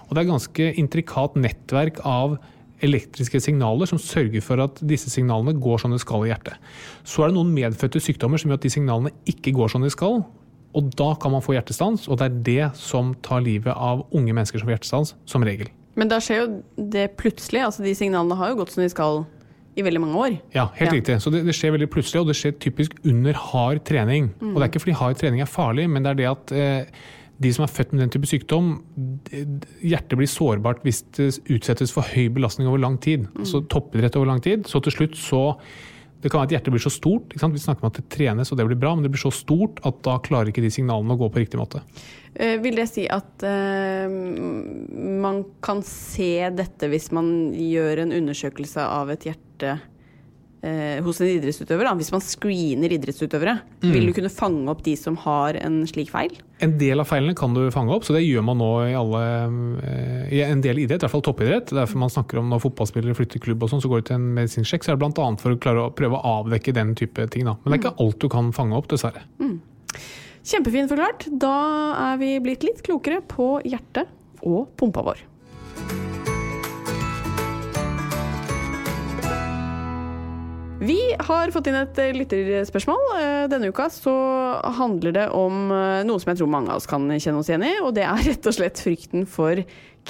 [SPEAKER 2] Og det er ganske intrikat nettverk av elektriske signaler som sørger for at disse signalene går som de skal i hjertet. Så er det noen medfødte sykdommer som gjør at de signalene ikke går som de skal. Og da kan man få hjertestans, og det er det som tar livet av unge mennesker som får hjertestans, som regel.
[SPEAKER 1] Men da skjer jo det plutselig. Altså, de signalene har jo gått som de skal i veldig mange år.
[SPEAKER 2] Ja, helt
[SPEAKER 1] Ja.
[SPEAKER 2] riktig. Så det, det skjer veldig plutselig, og det skjer typisk under hard trening. Og det er ikke fordi hard trening er farlig, men det er det at eh, de som er født med den type sykdom, d- d- hjertet blir sårbart hvis det s- utsettes for høy belastning over lang tid. Så toppidrett over lang tid. Så til slutt så det kan være at hjertet blir så stort. Ikke sant? Vi snakker om at det trenes og det blir bra, men det blir så stort at da klarer ikke de signalene å gå på riktig måte.
[SPEAKER 1] Eh, vil det si at eh, man kan se dette hvis man gjør en undersøkelse av et hjerte eh, hos en idrettsutøver? Da? Hvis man screener idrettsutøvere, vil du kunne fange opp de som har en slik feil?
[SPEAKER 2] En del av feilene kan du fange opp, så det gjør man nå i, alle, eh, i en del idrett, i hvert fall toppidrett. Det er Derfor man snakker om når fotballspillere flytter klubb og sånn, så går de til en medisinsk sjekk. Så er det bl.a. for å klare å prøve å avdekke den type ting. Da. Men det er ikke alt du kan fange opp, dessverre.
[SPEAKER 1] Kjempefint forklart. Da er vi blitt litt klokere på hjertet og pumpa vår. Vi har fått inn et eh, lytterspørsmål. Eh, Denne uka så handler det om eh, noe som jeg tror mange av oss kan kjenne oss igjen i, og det er rett og slett frykten for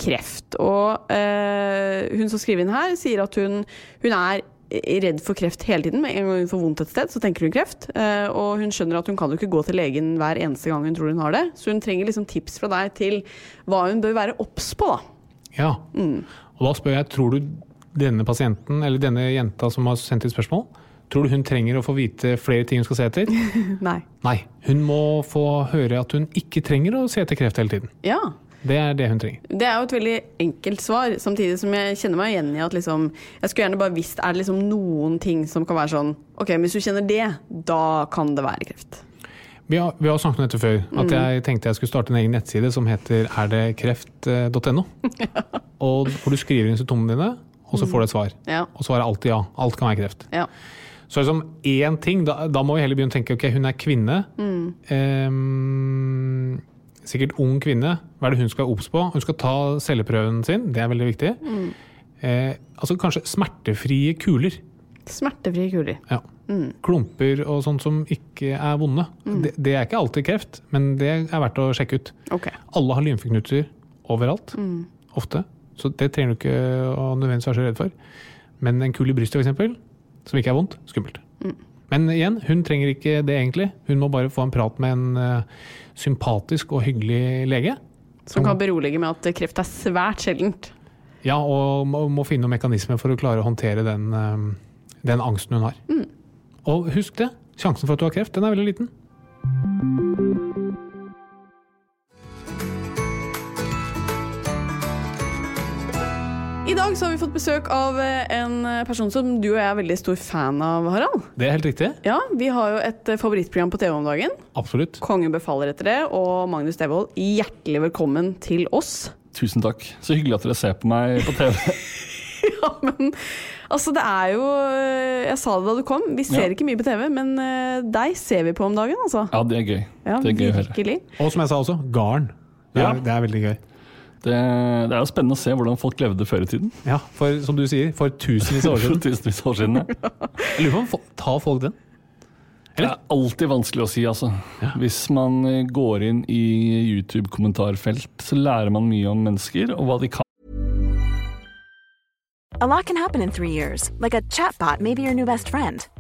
[SPEAKER 1] kreft. Og eh, hun som skriver inn her, sier at hun, hun er redd for kreft hele tiden. Med en gang hun får vondt et sted, så tenker hun kreft. Eh, og hun skjønner at hun kan jo ikke gå til legen hver eneste gang hun tror hun har det, så hun trenger liksom tips fra deg til hva hun bør være obs på, da.
[SPEAKER 2] Ja. Og da spør jeg, tror du denne pasienten, eller denne jenta som har sendt inn spørsmål, tror du hun trenger å få vite flere ting hun skal se etter?
[SPEAKER 1] Nei.
[SPEAKER 2] Nei. Hun må få høre at hun ikke trenger å se etter kreft hele tiden.
[SPEAKER 1] Ja.
[SPEAKER 2] Det er det hun trenger.
[SPEAKER 1] Det er jo et veldig enkelt svar, samtidig som jeg kjenner meg igjen i at liksom, jeg skulle gjerne bare visst er det liksom noen ting som kan være sånn OK, men hvis du kjenner det, da kan det være kreft.
[SPEAKER 2] Vi har, vi har snakket om dette før.
[SPEAKER 1] Mm.
[SPEAKER 2] At jeg tenkte jeg skulle starte en egen nettside som heter erdetkreft.no. Og Hvor du skriver inn symptomene dine, og så får du et svar.
[SPEAKER 1] Ja.
[SPEAKER 2] Og svaret er alltid ja. Alt kan være kreft.
[SPEAKER 1] ja.
[SPEAKER 2] Så er det som én ting, da, da må vi heller begynne å tenke ok, hun er kvinne.
[SPEAKER 1] Mm.
[SPEAKER 2] Ehm, sikkert ung kvinne. Hva er det hun skal være obs på? Hun skal ta celleprøven sin, det er veldig viktig.
[SPEAKER 1] Mm.
[SPEAKER 2] Eh, altså kanskje smertefrie kuler.
[SPEAKER 1] Smertefrie kuler.
[SPEAKER 2] Ja. Klumper og sånt som ikke er vonde. Det, det er ikke alltid kreft, men det er verdt å sjekke ut.
[SPEAKER 1] OK.
[SPEAKER 2] Alle har lymfeknuter overalt, ofte, så det trenger du ikke å nødvendigvis være så redd for. Men en kul i brystet, f.eks., som ikke er vondt, skummelt. Men igjen, hun trenger ikke det egentlig. Hun må bare få en prat med en eh, sympatisk og hyggelig lege.
[SPEAKER 1] Som kan berolige med at kreft er svært sjeldent.
[SPEAKER 2] Ja, og må, må finne noen mekanismer for å klare å håndtere den, eh, den angsten hun har. Og husk det, sjansen for at du har kreft, den er veldig liten.
[SPEAKER 1] I dag så har vi fått besøk av eh, en person som du og jeg er veldig stor fan av, Harald.
[SPEAKER 2] Det er helt riktig.
[SPEAKER 1] Ja, Vi har jo et eh, favorittprogram på TV om dagen.
[SPEAKER 2] Absolutt.
[SPEAKER 1] Kongen befaler etter det. Og Magnus Devold, hjertelig velkommen til oss.
[SPEAKER 3] Tusen takk. Så hyggelig at dere ser på meg på TV.
[SPEAKER 1] Ja, men altså det er jo eh, Jeg sa det da du kom, vi ser
[SPEAKER 3] Ja.
[SPEAKER 1] ikke mye på TV, men eh, deg ser vi på om dagen, altså.
[SPEAKER 3] Ja, det er gøy.
[SPEAKER 1] Ja,
[SPEAKER 3] det er gøy å høre.
[SPEAKER 1] virkelig.
[SPEAKER 2] Og som jeg sa også, garn. Det er,
[SPEAKER 3] Ja.
[SPEAKER 2] det er veldig gøy.
[SPEAKER 3] Det, det er jo spennende å se hvordan folk levde før i tiden.
[SPEAKER 2] Ja, for som du sier, for tusenvis av år
[SPEAKER 3] For
[SPEAKER 2] siden.
[SPEAKER 3] tusenvis av år siden. ja.
[SPEAKER 2] Jeg lurer på om fo- tar folk den?
[SPEAKER 3] Det er alltid vanskelig å si, altså. Hvis man eh, går inn i YouTube-kommentarfelt, så lærer man mye om mennesker og hva de kan.
[SPEAKER 4] A lot can happen in three years, like a chatbot may be your new best friend.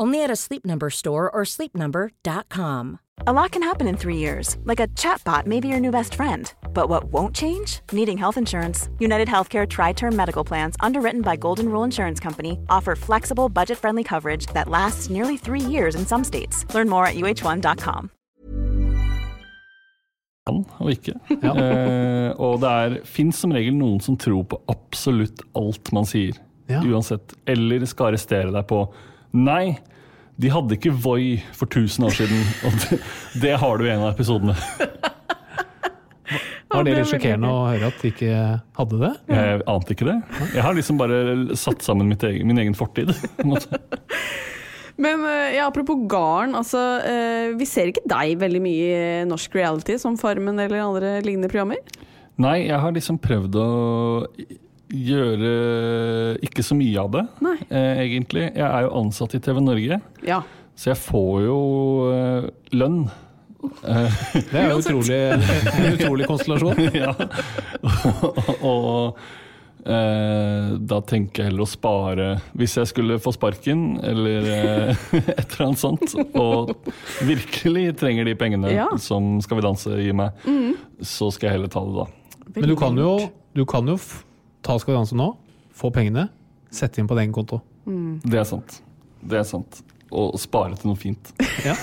[SPEAKER 5] Only at a Sleep Number store or sleepnumber.com.
[SPEAKER 4] A lot can happen in three years, like a chatbot may be your new best friend. But what won't change? Needing health insurance. United Healthcare Tri Term Medical Plans, underwritten by Golden Rule Insurance Company, offer flexible, budget friendly coverage that lasts nearly three years in some states. Learn more at uh1.com.
[SPEAKER 3] kan og ikke. Eh, og det fins som regel noen som tror på absolutt alt man sier.
[SPEAKER 2] Ja.
[SPEAKER 3] Uansett. Eller skal arrestere deg på Nei, de hadde ikke Voi for 1000 år siden. Og det, det har du i en av episodene.
[SPEAKER 2] Var det
[SPEAKER 1] det er
[SPEAKER 2] litt sjokkerende å høre at de ikke hadde det?
[SPEAKER 3] Jeg ante ikke det. Jeg har liksom bare satt sammen mitt egen, min egen fortid. på en måte.
[SPEAKER 1] Men eh, ja, apropos garn, altså eh, vi ser ikke deg veldig mye i norsk reality som Farmen eller andre lignende programmer.
[SPEAKER 3] Nei, jeg har liksom prøvd å gjøre ikke så mye av det,
[SPEAKER 1] Nei.
[SPEAKER 3] eh, egentlig. Jeg er jo ansatt i TV Norge.
[SPEAKER 1] Ja.
[SPEAKER 3] Så jeg får jo eh, lønn.
[SPEAKER 2] Det er jo utrolig, en utrolig konstellasjon.
[SPEAKER 3] ja. og eh, da tenker jeg heller å spare Hvis jeg skulle få sparken eller eh, et eller annet sånt, og virkelig trenger de pengene
[SPEAKER 1] Ja.
[SPEAKER 3] som Skal vi danse gir meg, så skal jeg heller ta det da.
[SPEAKER 2] Men du kan jo, du kan jo f- ta Skal vi danse nå, få pengene, sette inn på din konto.
[SPEAKER 3] Det er sant. Det er sant. Og spare til noe fint.
[SPEAKER 2] Ja.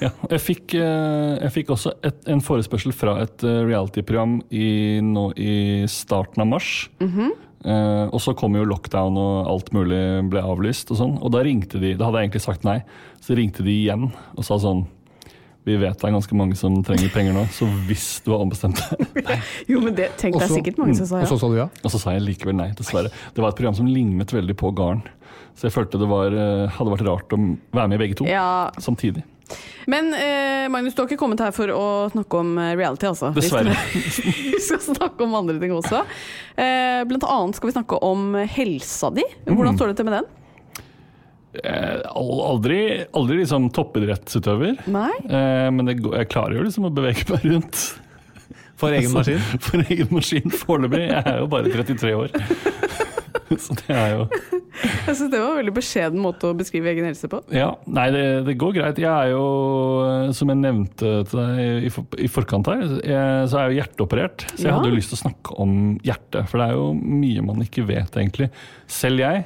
[SPEAKER 3] Ja, jeg fikk, eh, jeg fikk også et, en forespørsel fra et eh, reality-program i, nå i starten av mars. Eh, og så kom jo lockdown og alt mulig ble avlyst og sånn. Og da ringte de, da hadde jeg egentlig sagt nei, så ringte de igjen og sa sånn Vi vet det er ganske mange som trenger penger nå, så hvis du har ombestemt deg
[SPEAKER 1] Jo, men det tenk, det er
[SPEAKER 2] Også-
[SPEAKER 1] sikkert mange som sa
[SPEAKER 2] Og
[SPEAKER 1] ja.
[SPEAKER 2] så sa du ja?
[SPEAKER 3] Og så sa jeg likevel nei, dessverre. Det var et program som lignet veldig på Garn. Så jeg følte det var, eh, hadde vært rart å være med i begge to
[SPEAKER 1] Ja.
[SPEAKER 3] samtidig.
[SPEAKER 1] Men eh, Magnus, du har ikke kommet her for å snakke om eh, reality, altså. Vi skal-
[SPEAKER 3] Dessverre.
[SPEAKER 1] Vi skal snakke om andre ting også. Eh, blant annet skal vi snakke om helsa di. Hvordan står det til med den?
[SPEAKER 3] Eh, al- Aldri, aldri liksom toppidrettsutøver.
[SPEAKER 1] Nei?
[SPEAKER 3] Eh, men det, går- jeg klarer jo liksom å bevege meg rundt.
[SPEAKER 2] For egen
[SPEAKER 3] Altså,
[SPEAKER 2] maskin?
[SPEAKER 3] For egen maskin foreløpig. Jeg er jo bare 33 år. Så det er jo
[SPEAKER 1] Jeg synes det var en veldig beskjeden måte å beskrive egen helse på.
[SPEAKER 3] Ja, nei, det, det går greit. Jeg er jo, eh, som jeg nevnte til deg i, for- i forkant her, jeg, så er jeg jo hjerteoperert. Så jeg
[SPEAKER 1] Ja.
[SPEAKER 3] hadde jo lyst til å snakke om hjertet, for det er jo mye man ikke vet, egentlig. Selv jeg,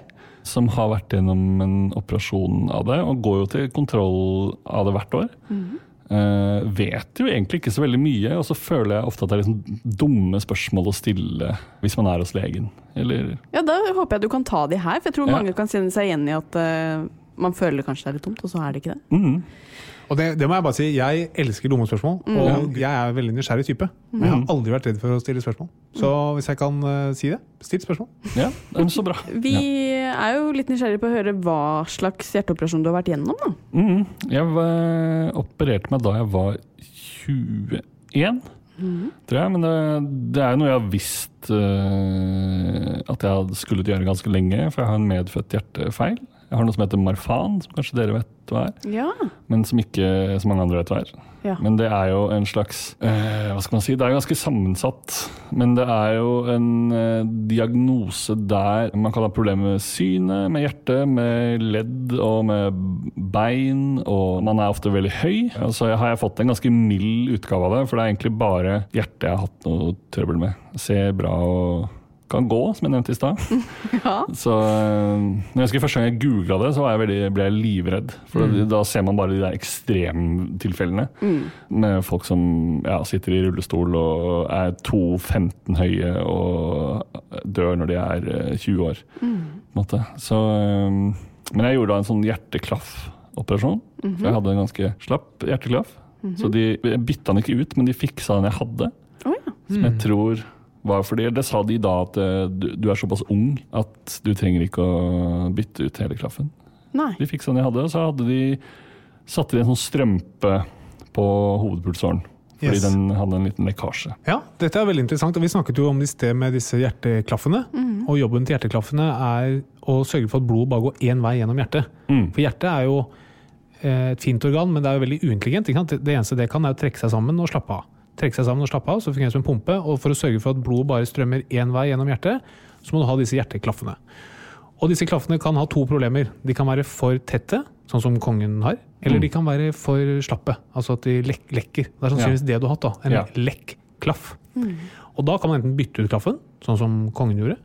[SPEAKER 3] som har vært gjennom en operasjon av det, og går jo til kontroll av det hvert år. eh, vet jo egentlig ikke så veldig mye, og så føler jeg ofte at det er liksom dumme spørsmål å stille hvis man er hos legen. Eller
[SPEAKER 1] Ja, Da håper jeg du kan ta de her, for jeg tror
[SPEAKER 3] Ja.
[SPEAKER 1] mange kan kjenne seg igjen i at eh, man føler kanskje det er litt dumt, og så er det ikke det.
[SPEAKER 3] Mhm.
[SPEAKER 2] Og det, det må jeg bare si, jeg elsker dumme spørsmål, og jeg er en veldig nysgjerrig type. Men jeg har aldri vært redd for å stille spørsmål. Så hvis jeg kan eh, si det, still spørsmål.
[SPEAKER 3] Ja, det er så bra.
[SPEAKER 1] Vi er jo litt nysgjerrige på å høre hva slags hjerteoperasjon du har vært gjennom. da.
[SPEAKER 3] Mm, jeg var, eh, opererte meg da jeg var 21, tror jeg. Men det, det er jo noe jeg har visst eh, at jeg hadde- skulle gjøre ganske lenge, for jeg har en medfødt hjertefeil. Jeg har noe som heter Marfan, som kanskje dere vet hva er,
[SPEAKER 1] Ja.
[SPEAKER 3] men som ikke så mange andre vet hva er.
[SPEAKER 1] Ja.
[SPEAKER 3] Men det er jo en slags eh, Hva skal man si? Det er ganske sammensatt. Men det er jo en eh, diagnose der man kan ha problemer med synet, med hjertet, med ledd og med bein. Og man er ofte veldig høy. Og så har jeg fått en ganske mild utgave av det, for det er egentlig bare hjertet jeg har hatt noe trøbbel med. Ser bra og kan gå, som jeg nevnte i stad.
[SPEAKER 1] Ja.
[SPEAKER 3] Så øh, når jeg husker Første gang jeg googla det, så var jeg veldig, ble jeg livredd. For Da ser man bare de der ekstremtilfellene. Med folk som ja, sitter i rullestol og er 2,15 høye og dør når de er øh, 20 år. På en måte. Så, øh, men jeg gjorde da en sånn hjerteklaffoperasjon. For jeg hadde en ganske slapp hjerteklaff. Så de jeg bytta den ikke ut, men de fiksa den jeg hadde.
[SPEAKER 1] Å, ja.
[SPEAKER 3] Som jeg tror var fordi Det sa de da at eh, du, du er såpass ung at du trenger ikke å bytte ut hele klaffen.
[SPEAKER 1] Nei.
[SPEAKER 3] De fiksa den jeg hadde, og så hadde de satte de en sånn strømpe på hovedpulsåren. Fordi
[SPEAKER 2] Yes.
[SPEAKER 3] den hadde en liten lekkasje.
[SPEAKER 2] Ja, dette er veldig interessant. og Vi snakket jo om det i sted med disse hjerteklaffene. Og jobben til hjerteklaffene er å sørge for at blodet bare går én vei gjennom hjertet. For hjertet er jo eh, et fint organ, men det er jo veldig uintelligent. Ikke sant? Det eneste det kan, er å trekke seg sammen og slappe av. Trekke seg sammen og slappe av, så fungerer det som en pumpe. Og for å sørge for at blodet bare strømmer én vei gjennom hjertet, så må du ha disse hjerteklaffene. Og disse klaffene kan ha to problemer. De kan være for tette, sånn som kongen har. Eller de kan være for slappe, altså at de lek lekker. Det er sannsynligvis det du har hatt. da, En
[SPEAKER 3] Ja.
[SPEAKER 2] lekk-klaff. Og da kan man enten bytte ut klaffen, sånn som kongen gjorde,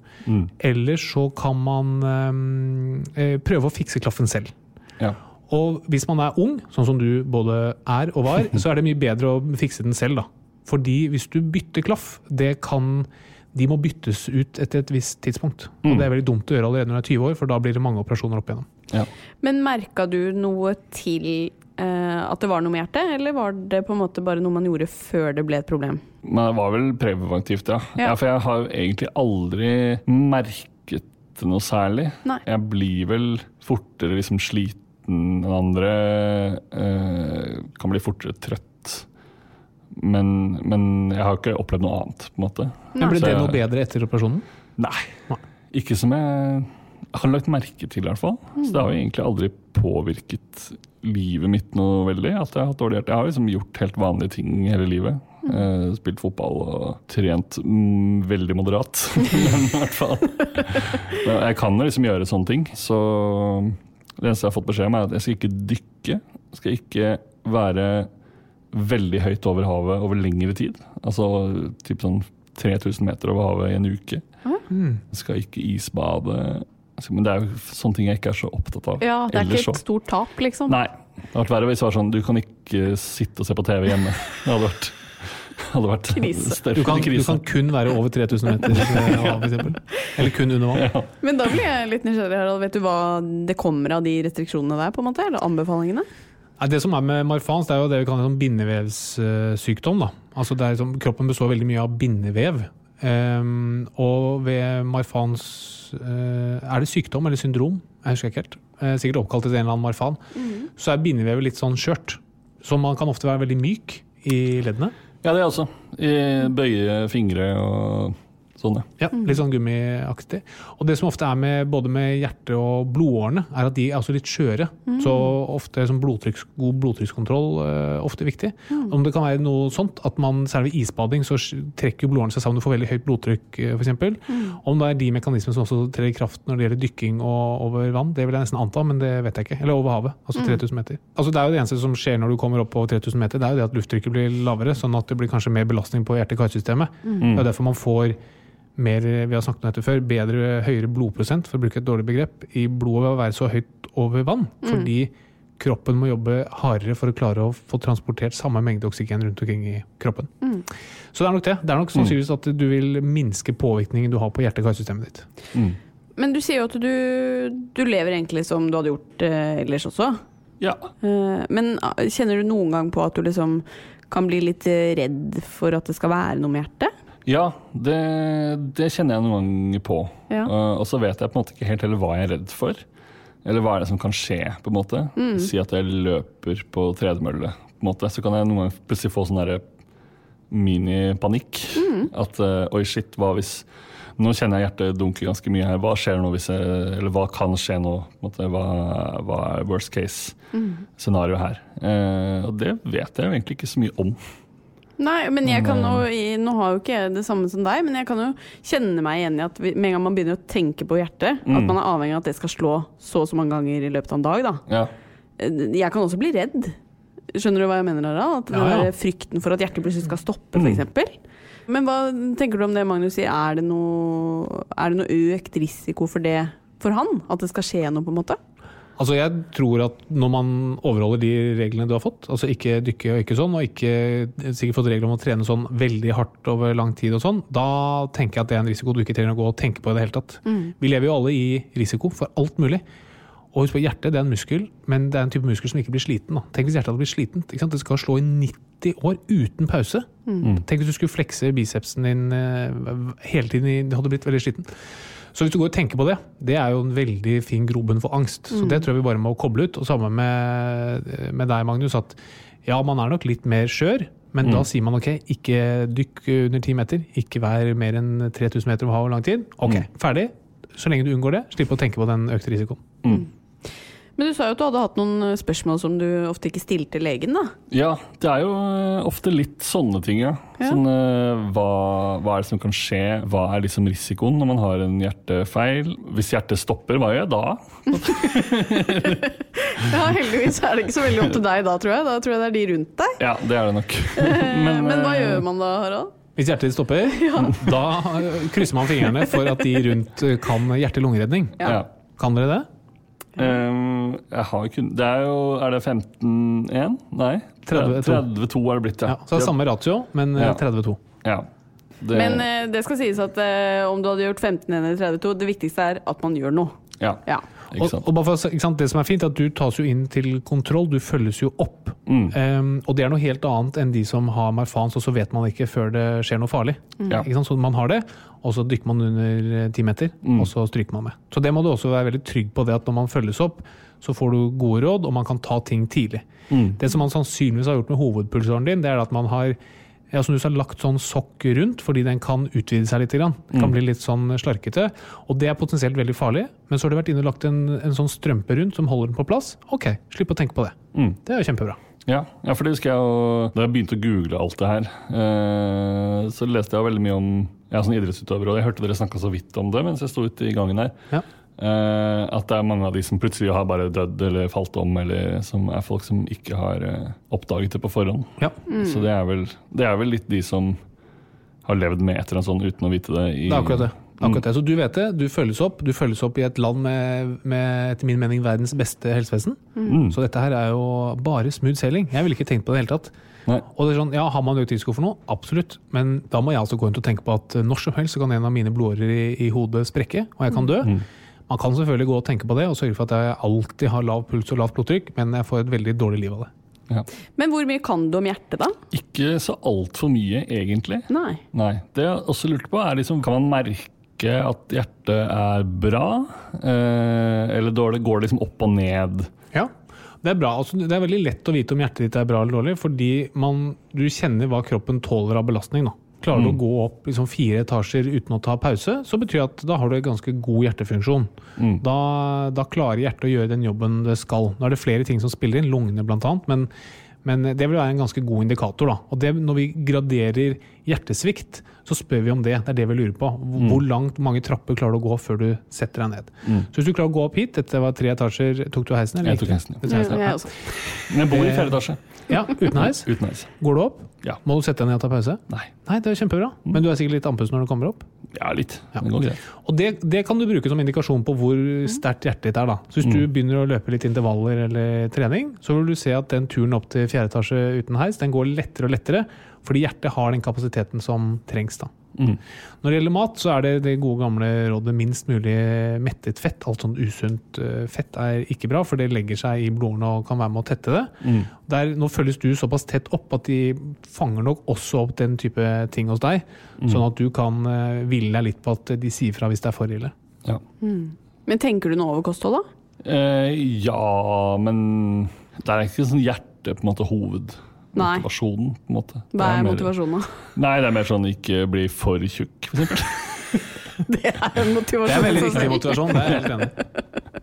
[SPEAKER 2] eller så kan man eh, eh, prøve å fikse klaffen selv.
[SPEAKER 3] Ja.
[SPEAKER 2] Og hvis man er ung, sånn som du både er og var, så er det mye bedre å fikse den selv, da. Fordi hvis du bytter klaff, det kan De må byttes ut etter et visst tidspunkt. Og det er veldig dumt å gjøre allerede når du er 20 år, for da blir det mange operasjoner opp igjennom.
[SPEAKER 3] Ja.
[SPEAKER 1] Men merka du noe til eh, at det var noe med hjertet, eller var det på en måte bare noe man gjorde før det ble et problem?
[SPEAKER 3] Men det var vel preventivt, ja.
[SPEAKER 1] Ja.
[SPEAKER 3] ja. For jeg har jo egentlig aldri merket noe særlig.
[SPEAKER 1] Nei.
[SPEAKER 3] Jeg blir vel fortere liksom sliten enn andre. eh, kan bli fortere trøtt. Men, men jeg har ikke opplevd noe annet, på en måte.
[SPEAKER 2] Men ble
[SPEAKER 3] Så
[SPEAKER 2] det
[SPEAKER 3] jeg-
[SPEAKER 2] noe bedre etter operasjonen?
[SPEAKER 3] Nei. Ikke som jeg har lagt merke til, i hvert fall. Så det har jo egentlig aldri påvirket livet mitt noe veldig. at Jeg har hatt dårlig hjerte. Jeg har liksom gjort helt vanlige ting hele livet. Eh, Spilt fotball og trent mm, veldig moderat. Men i hvert fall Men Jeg kan jo liksom gjøre sånne ting. Så det eneste jeg har fått beskjed om, er at jeg skal ikke dykke. Jeg skal ikke være veldig høyt over havet over lengre tid. Altså typ sånn 3000 meter over havet i en uke.
[SPEAKER 2] Mm.
[SPEAKER 3] Jeg skal ikke isbade. Altså, Men det er jo sånne ting jeg ikke er så opptatt av.
[SPEAKER 1] Ja, det er
[SPEAKER 3] Ellers
[SPEAKER 1] ikke et
[SPEAKER 3] så-
[SPEAKER 1] stort tap, liksom.
[SPEAKER 3] Nei. Det hadde vært verre hvis det var sånn du kan ikke sitte og se på TV hjemme. Det hadde vært, hadde vært
[SPEAKER 1] Krise.
[SPEAKER 3] sterk
[SPEAKER 2] Du kan, du
[SPEAKER 3] krise.
[SPEAKER 2] kan kun være over 3000 meter eh, av, for eksempel. Eller kun under vann.
[SPEAKER 1] Men da blir jeg litt nysgjerrig, Harald. Vet du hva det kommer av de restriksjonene der, på en måte? Eller anbefalingene?
[SPEAKER 2] Nei, Det som er med marfans, det er jo det vi kaller sånn bindevevssykdom. da. Altså det er liksom, kroppen består veldig mye av bindevev. Ehm, og ved marfans eh, Er det sykdom eller syndrom? Jeg husker ikke helt. Eh, sikkert oppkalt etter en eller annen marfan. Så er bindevevet litt sånn skjørt. Så man kan ofte være veldig myk i leddene.
[SPEAKER 3] Ja, det er også. I bøye fingre og sånn, ja.
[SPEAKER 2] Ja, Litt sånn gummiaktig. Og det som ofte er med både med hjerte- og blodårene, er at de er også litt skjøre. Så ofte som blodtrykks, god blodtrykkskontroll eh, ofte viktig. Om det kan være noe sånt at man særlig ved isbading så sk- trekker jo blodårene seg sammen, du får veldig høyt blodtrykk f.eks. Om det er de mekanismene som også trer i kraft når det gjelder dykking og over vann, det vil jeg nesten anta, men det vet jeg ikke. Eller over havet, altså 3000 meter. Altså Det er jo det eneste som skjer når du kommer opp på 3000 meter, det er jo det at lufttrykket blir lavere, sånn at det blir kanskje mer belastning på hjerte-karsystemet.
[SPEAKER 3] Mm.
[SPEAKER 2] Det er derfor man får mer, vi har snakket om dette før, bedre, høyere blodprosent, for å bruke et dårlig begrep, i blodet ved å være så høyt over vann. Fordi kroppen må jobbe hardere for å klare å få transportert samme mengde oksygen rundt omkring i kroppen. Så det er nok det. Det er nok sannsynligvis at du vil minske påvirkningen du har på hjerte-karsystemet ditt.
[SPEAKER 3] Mm.
[SPEAKER 1] Men du sier jo at du, du lever egentlig som du hadde gjort eh, ellers også.
[SPEAKER 3] ja.
[SPEAKER 1] Eh, men ah, kjenner du noen gang på at du liksom kan bli litt eh, redd for at det skal være noe med hjertet?
[SPEAKER 3] Ja, det, det kjenner jeg noen ganger på.
[SPEAKER 1] Ja.
[SPEAKER 3] Eh, og så vet jeg på en måte ikke helt heller hva jeg er redd for. Eller hva er det som kan skje, på en måte. Si at jeg løper på tredemølle, på en måte. Så kan jeg noen ganger plutselig få sånn derre minipanikk. At eh, oi, shit, hva hvis Nå kjenner jeg hjertet dunke ganske mye her. Hva skjer nå hvis jeg Eller hva kan skje nå? På en måte? Hva, hva er worst case scenario her? Eh, og det vet jeg jo egentlig ikke så mye om.
[SPEAKER 1] Nei, men jeg
[SPEAKER 3] Mm.
[SPEAKER 1] kan jo, i- nå har jo ikke jeg det samme som deg, men jeg kan jo kjenne meg igjen i at vi- med en gang man begynner å tenke på hjertet,
[SPEAKER 3] Mm.
[SPEAKER 1] at man er avhengig av at det skal slå så og så mange ganger i løpet av en dag, da.
[SPEAKER 3] Ja.
[SPEAKER 1] Eh, Jeg kan også bli redd. Skjønner du hva jeg mener, Harald? At den
[SPEAKER 2] Ja, ja.
[SPEAKER 1] der frykten for at hjertet plutselig skal stoppe, f.eks. Men hva tenker du om det Magnus sier, er det noe, er det noe økt risiko for det for han? At det skal skje noe, på en måte?
[SPEAKER 2] Altså Jeg tror at når man overholder de reglene du har fått, altså ikke dykke og ikke sånn, og ikke sikkert fått regler om å trene sånn veldig hardt over lang tid og sånn, da tenker jeg at det er en risiko du ikke trenger å gå og tenke på i det hele tatt. Vi lever jo alle i risiko for alt mulig. Og husk på, hjertet det er en muskel, men det er en type muskel som ikke blir sliten. Da. Tenk hvis hjertet hadde blitt slitent. Ikke sant? Det skal slå i 90 år uten pause. Tenk hvis du skulle flekse bicepsen din eh, hele tiden, i- du hadde blitt veldig sliten. Så hvis du går og tenker på det, det er jo en veldig fin grobunn for angst. Så det tror jeg vi bare må koble ut. Og samme med, med deg, Magnus, at ja, man er nok litt mer skjør. Men da sier man ok, ikke dykk under ti meter, ikke vær mer enn 3000 meter over havet over lang tid. Ok, ferdig. Så lenge du unngår det, slipp å tenke på den økte risikoen.
[SPEAKER 1] Men du sa jo at du hadde hatt noen eh, spørsmål som du ofte ikke stilte legen, da.
[SPEAKER 3] Ja, det er jo eh, ofte litt sånne ting, ja. Sånn, eh, hva, hva er det som kan skje? Hva er liksom risikoen når man har en hjertefeil? Hvis hjertet stopper, hva gjør jeg da?
[SPEAKER 1] Ja, heldigvis er det ikke så veldig opp til deg da, tror jeg. Da tror jeg det er de rundt deg.
[SPEAKER 3] Ja, det er det nok.
[SPEAKER 1] Men, Men hva
[SPEAKER 3] eh,
[SPEAKER 1] gjør man da, Harald?
[SPEAKER 2] Hvis hjertet ditt stopper, da eh, krysser man fingrene for at de rundt eh, kan hjerte-lungeredning.
[SPEAKER 1] Ja.
[SPEAKER 3] Ja.
[SPEAKER 2] Kan dere det?
[SPEAKER 3] Eh, jeg har kun, det er jo Er det 15-1? Nei?
[SPEAKER 2] 32.
[SPEAKER 3] 32 er det blitt,
[SPEAKER 2] Ja,
[SPEAKER 3] ja.
[SPEAKER 2] så det er samme ratio, men eh,
[SPEAKER 3] Ja.
[SPEAKER 2] 32.
[SPEAKER 3] Ja. Det,
[SPEAKER 1] Men eh, det skal sies at eh, om du hadde gjort 15 eller 32, det viktigste er at man gjør noe.
[SPEAKER 3] ja,
[SPEAKER 1] Ja.
[SPEAKER 3] ikke
[SPEAKER 2] Og,
[SPEAKER 3] sant.
[SPEAKER 2] og bare for, å si- ikke sant? Det som er fint, er at du tas jo inn til kontroll, du følges jo opp.
[SPEAKER 3] Mm.
[SPEAKER 2] Em, og det er noe helt annet enn de som har marfans, og så vet man ikke før det skjer noe farlig.
[SPEAKER 3] Mm. Ja.
[SPEAKER 2] Ikke sant? Så man har det, og så dykker man under eh, ti meter,
[SPEAKER 3] Mm.
[SPEAKER 2] og så stryker man med. Så det må du også være veldig trygg på, det at når man følges opp, så får du gode råd, og man kan ta ting tidlig.
[SPEAKER 3] Mm.
[SPEAKER 2] Det som man sannsynligvis har gjort med hovedpulsåren din, det er at man har ja, som du sa, lagt sånn sokk rundt, fordi den kan utvide seg litt. Grann. Den kan bli litt sånn slarkete, og det er potensielt veldig farlig. Men så har du vært inne og lagt en, en sånn strømpe rundt som holder den på plass. Ok, slipp å tenke på det. Det er jo kjempebra.
[SPEAKER 3] Ja, ja, for det husker jeg jo Da jeg begynte å google alt det her, eh, så leste jeg jo veldig mye om Jeg er sånn idrettsutøver, og jeg hørte dere snakka så vidt om det mens jeg sto ute i gangen her.
[SPEAKER 2] Ja.
[SPEAKER 3] Eh, at det er mange av de som plutselig har bare dødd eller falt om, eller som er folk som ikke har eh, oppdaget det på forhånd.
[SPEAKER 2] Ja.
[SPEAKER 3] Så det er, vel, det er vel litt de som har levd med etter en sånn uten å vite det. I,
[SPEAKER 2] Det er akkurat det. Det er Akkurat det. Så du vet det, du følges opp. Du følges opp i et land med, med etter min mening verdens beste helsevesen.
[SPEAKER 3] Mm.
[SPEAKER 2] Så dette her er jo bare smooth sailing. Jeg ville ikke tenkt på det i det hele tatt.
[SPEAKER 3] Nei.
[SPEAKER 2] Og det er sånn, ja, Har man økt risiko for noe? Absolutt. Men da må jeg altså gå rundt og tenke på at når som helst så kan en av mine blodårer i, i hodet sprekke, og jeg kan dø. Man kan selvfølgelig gå og tenke på det og sørge for at jeg alltid har lav puls og lavt blodtrykk, men jeg får et veldig dårlig liv av det.
[SPEAKER 3] Ja.
[SPEAKER 1] Men hvor mye kan du om hjertet, da?
[SPEAKER 3] Ikke så altfor mye, egentlig.
[SPEAKER 1] Nei.
[SPEAKER 3] Nei. Det jeg også lurte på, er liksom Kan man merke at hjertet er bra? Eh, eller dårlig? Går det liksom opp og ned?
[SPEAKER 2] Ja, det er bra. Altså, det er veldig lett å vite om hjertet ditt er bra eller dårlig, fordi man, du kjenner hva kroppen tåler av belastning. Da. Klarer du å gå opp liksom, fire etasjer uten å ta pause, så betyr det at da har du en ganske god hjertefunksjon. Da, da klarer hjertet å gjøre den jobben det skal. Nå er det flere ting som spiller inn, lungene bl.a., men, men det vil være en ganske god indikator. Da. Og det, når vi graderer hjertesvikt, så spør vi om det. Det er det vi lurer på. Hvor hvor langt mange trapper klarer du å gå før du setter deg ned? Så hvis du klarer å gå opp hit, dette var tre etasjer, tok du heisen? Eller
[SPEAKER 3] Jeg tok
[SPEAKER 2] ikke?
[SPEAKER 3] heisen, ja.
[SPEAKER 2] Du tok
[SPEAKER 1] Mm, Ja,
[SPEAKER 2] heisen, ja.
[SPEAKER 1] jeg også.
[SPEAKER 3] Men jeg bor i fjerde etasje.
[SPEAKER 2] Ja, uten heis.
[SPEAKER 3] Uten heis.
[SPEAKER 2] Går du opp?
[SPEAKER 3] Ja.
[SPEAKER 2] Må du sette deg ned og ta pause?
[SPEAKER 3] Nei.
[SPEAKER 2] Nei, det er kjempebra. Men du er sikkert litt andpust når du kommer opp.
[SPEAKER 3] Ja, litt. Det går greit.
[SPEAKER 2] Og det, det kan du bruke som indikasjon på hvor sterkt hjertet ditt er. da. Så hvis du
[SPEAKER 3] Mm.
[SPEAKER 2] begynner å løpe litt intervaller eller trening, så vil du se at den turen opp til fjerde etasje uten heis, den går lettere og lettere, fordi hjertet har den kapasiteten som trengs. da. Mm. Når det gjelder mat, så er det det gode gamle rådet minst mulig mettet fett. Alt sånn usunt eh, fett er ikke bra, for det legger seg i blodårene og kan være med å tette det. Der, nå følges du såpass tett opp at de fanger nok også opp den type ting hos deg, sånn at du kan eh, hvile deg litt på at de sier fra hvis det er for ille.
[SPEAKER 3] Ja.
[SPEAKER 1] Men tenker du noe over kosthold, da?
[SPEAKER 3] Eh, ja, men det er ikke sånn hjerte på en måte hoved.
[SPEAKER 1] Nei.
[SPEAKER 3] Motivasjonen, på en måte. Det
[SPEAKER 1] Hva er
[SPEAKER 3] mer-
[SPEAKER 1] motivasjonen, da?
[SPEAKER 3] Nei, det er mer sånn ikke bli for tjukk, for eksempel.
[SPEAKER 1] Det er en motivasjon.
[SPEAKER 2] Det er
[SPEAKER 1] i seg
[SPEAKER 2] veldig viktig
[SPEAKER 1] selv.
[SPEAKER 2] motivasjon, det er jeg helt enig i.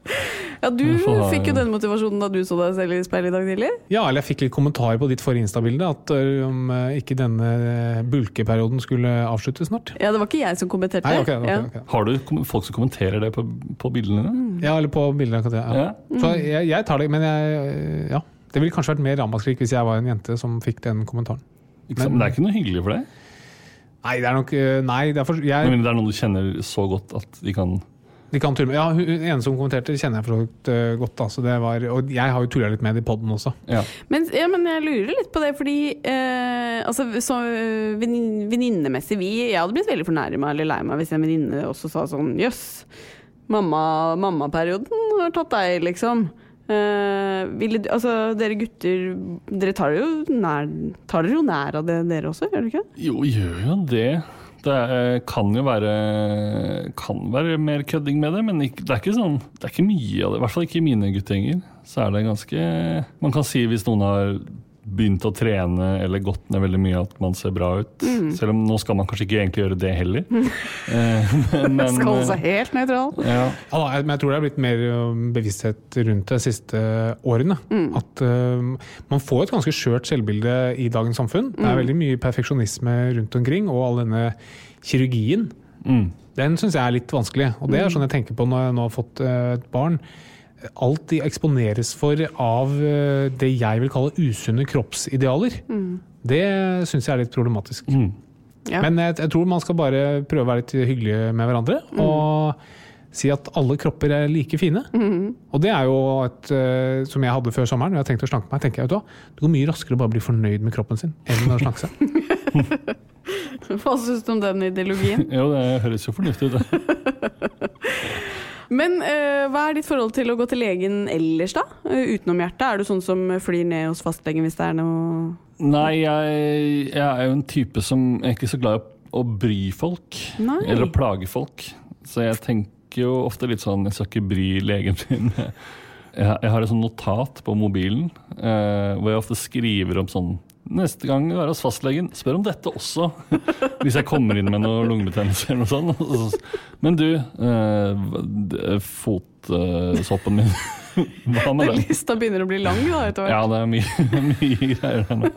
[SPEAKER 1] Ja, du
[SPEAKER 3] Hvorfor har jeg-
[SPEAKER 1] fikk jo den motivasjonen da du så deg selv i speilet i dag tidlig.
[SPEAKER 2] Ja, eller jeg fikk litt kommentarer på ditt forrige Insta-bilde, at eh, om eh, ikke denne eh, bulkeperioden skulle avsluttes snart.
[SPEAKER 1] Ja, det var ikke jeg som kommenterte.
[SPEAKER 2] Nei, ok, ok,
[SPEAKER 1] Ja.
[SPEAKER 2] ok.
[SPEAKER 3] Har du kom- folk som kommenterer det på, på bildene
[SPEAKER 1] Mm.
[SPEAKER 3] dine?
[SPEAKER 2] Ja, eller på bilder av Katja. Ja.
[SPEAKER 3] Ja.
[SPEAKER 2] Så jeg, jeg tar det, men jeg Ja. Det ville kanskje vært mer ramaskrik hvis jeg var en jente som fikk den kommentaren.
[SPEAKER 3] Ikke sant? Men det er ikke noe hyggelig for deg?
[SPEAKER 2] Nei, det er nok eh, Nei, det er for,
[SPEAKER 3] Med
[SPEAKER 2] jeg,
[SPEAKER 3] mindre det er noen du kjenner så godt at de kan
[SPEAKER 2] de kan tulle med Ja, hun hun ene som kommenterte, kjenner jeg for så vidt eh, godt, da. Så det var Og jeg har jo tulla litt med det i poden også.
[SPEAKER 3] Ja.
[SPEAKER 1] Men, ja, men jeg lurer litt på det, fordi eh, altså, så, eh, venin- venninnemessig vi, Jeg hadde blitt veldig fornærma eller lei meg hvis en venninne også sa sånn Jøss, mamma- mammaperioden har tatt deg, liksom. Eh, ville, du- altså, dere gutter Dere tar dere jo nær, tar dere jo nær av det, dere også, gjør dere ikke?
[SPEAKER 3] Jo, gjør jo det. Det er, eh, kan jo være Kan være mer kødding med det, men ikke, det er ikke sånn Det er ikke mye av det. I hvert fall ikke i mine guttegjenger. Så er det ganske Man kan si hvis noen har begynt å trene eller gått ned veldig mye, at man ser bra ut. Selv om nå skal man kanskje ikke egentlig gjøre det heller. Eh, men, men,
[SPEAKER 1] Skal holde seg helt nøytral.
[SPEAKER 3] ja.
[SPEAKER 2] Ja, da, jeg- men jeg tror det er blitt mer ø, bevissthet rundt det de siste årene. At ø, man får et ganske skjørt selvbilde i dagens samfunn. Det er veldig mye perfeksjonisme rundt omkring, og all denne kirurgien. Den syns jeg er litt vanskelig. Og det er sånn jeg tenker på når jeg nå har fått ø, et barn. Alt de eksponeres for av ø, det jeg vil kalle usunne kroppsidealer, det syns jeg er litt problematisk.
[SPEAKER 1] Ja.
[SPEAKER 2] Men jeg, jeg tror man skal bare prøve å være litt hyggelige med hverandre.
[SPEAKER 1] Mm.
[SPEAKER 2] Og si at alle kropper er like fine.
[SPEAKER 1] Mm.
[SPEAKER 2] Og det er jo et eh, som jeg hadde før sommeren. når Jeg tenkte å slanke meg. tenker jeg, vet du hva? Det går mye raskere å bare bli fornøyd med kroppen sin enn å slanke seg.
[SPEAKER 1] Hva syns du om den ideologien?
[SPEAKER 3] Jo, det høres jo fornuftig ut. det.
[SPEAKER 1] Men eh, hva er ditt forhold til å gå til legen ellers, da? Eh, utenom hjertet? Er du sånn som flyr ned hos fastlegen hvis det er noe
[SPEAKER 3] Nei, jeg, jeg er jo en type som er ikke så glad i å bry folk.
[SPEAKER 1] Nei.
[SPEAKER 3] Eller å plage folk. Så jeg tenker jo ofte litt sånn Jeg skal ikke bry legen min. Jeg, jeg har et sånt notat på mobilen eh, hvor jeg ofte skriver om sånn Neste gang du er hos fastlegen, spør om dette også. Hvis jeg kommer inn med noe lungebetennelse eller noe sånt. Og så- Men du, eh, fotsoppen min, hva med den?
[SPEAKER 1] Lista begynner å bli lang da, etter hvert.
[SPEAKER 3] Ja, det er mye, mye greier der nå.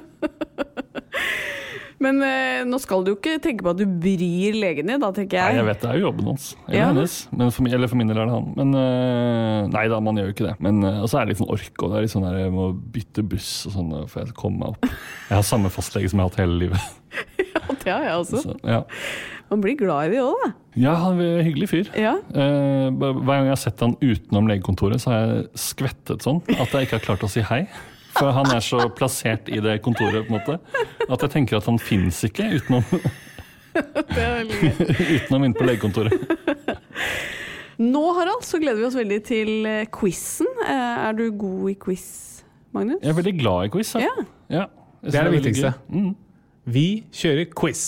[SPEAKER 1] Men eh, nå skal du jo ikke tenke på at du bryr legen din, da tenker jeg.
[SPEAKER 3] Nei, jeg vet det er jo jobben hans. Eller
[SPEAKER 1] Ja.
[SPEAKER 3] hennes. Men for, min- eller for min del er det han. Men øh, Nei da, man gjør jo ikke det. Men øh, Og så er det litt sånn ork, og det er litt sånn der, jeg må bytte buss og sånn øh, for jeg skal komme meg opp. Jeg har samme fastlege som jeg har hatt hele livet.
[SPEAKER 1] Ja, det har jeg også.
[SPEAKER 3] Så, ja.
[SPEAKER 1] Man blir glad i det òg, da.
[SPEAKER 3] ja, han er en hyggelig fyr.
[SPEAKER 1] Ja.
[SPEAKER 3] Eh, b- hver gang jeg har sett han utenom legekontoret, så har jeg skvettet sånn at jeg ikke har klart å si hei. For han er så plassert i det kontoret på en måte, at jeg tenker at han fins ikke utenom,
[SPEAKER 1] Det er veldig gøy.
[SPEAKER 3] utenom inne på legekontoret.
[SPEAKER 1] Nå, Harald, så gleder vi oss veldig til eh, quizen. Eh, Er du god i quiz, Magnus?
[SPEAKER 3] Jeg er veldig glad i quiz. jeg.
[SPEAKER 1] Ja.
[SPEAKER 3] Ja. Jeg
[SPEAKER 2] Det
[SPEAKER 3] synes
[SPEAKER 2] er det
[SPEAKER 3] veldig gøy.
[SPEAKER 2] viktigste. Vi kjører quiz.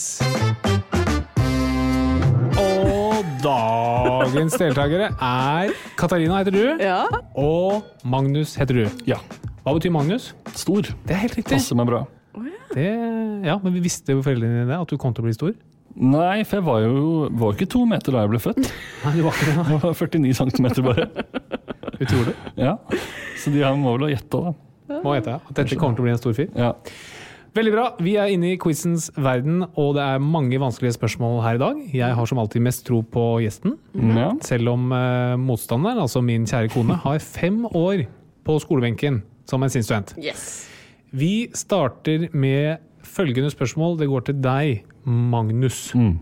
[SPEAKER 2] Og dagens deltakere er Katarina heter du,
[SPEAKER 1] Ja.
[SPEAKER 2] og Magnus heter du.
[SPEAKER 3] Ja.
[SPEAKER 2] Hva betyr Magnus?
[SPEAKER 3] Stor.
[SPEAKER 2] Det er helt riktig.
[SPEAKER 3] Passer meg bra.
[SPEAKER 2] Det, ja, men vi visste jo foreldrene dine at du kom til å bli stor?
[SPEAKER 3] Nei, for jeg var jo var jo ikke to meter da jeg ble født.
[SPEAKER 2] Nei, du var ikke det.
[SPEAKER 3] Jeg var 49 centimeter bare.
[SPEAKER 2] Utrolig.
[SPEAKER 3] Ja. Så de her må vel ha gjetta, da.
[SPEAKER 2] Må hete at dette kommer til å bli en stor fyr.
[SPEAKER 3] Ja.
[SPEAKER 2] Veldig bra. Vi er inne i quizens verden, og det er mange vanskelige spørsmål her i dag. Jeg har som alltid mest tro på gjesten,
[SPEAKER 1] Mhm.
[SPEAKER 3] ja.
[SPEAKER 2] selv om eh, motstanderen, altså min kjære kone, har fem år på skolebenken som en sinnsstudent.
[SPEAKER 1] Yes.
[SPEAKER 2] Vi starter med følgende spørsmål. Det går til deg, Magnus.
[SPEAKER 3] Mm.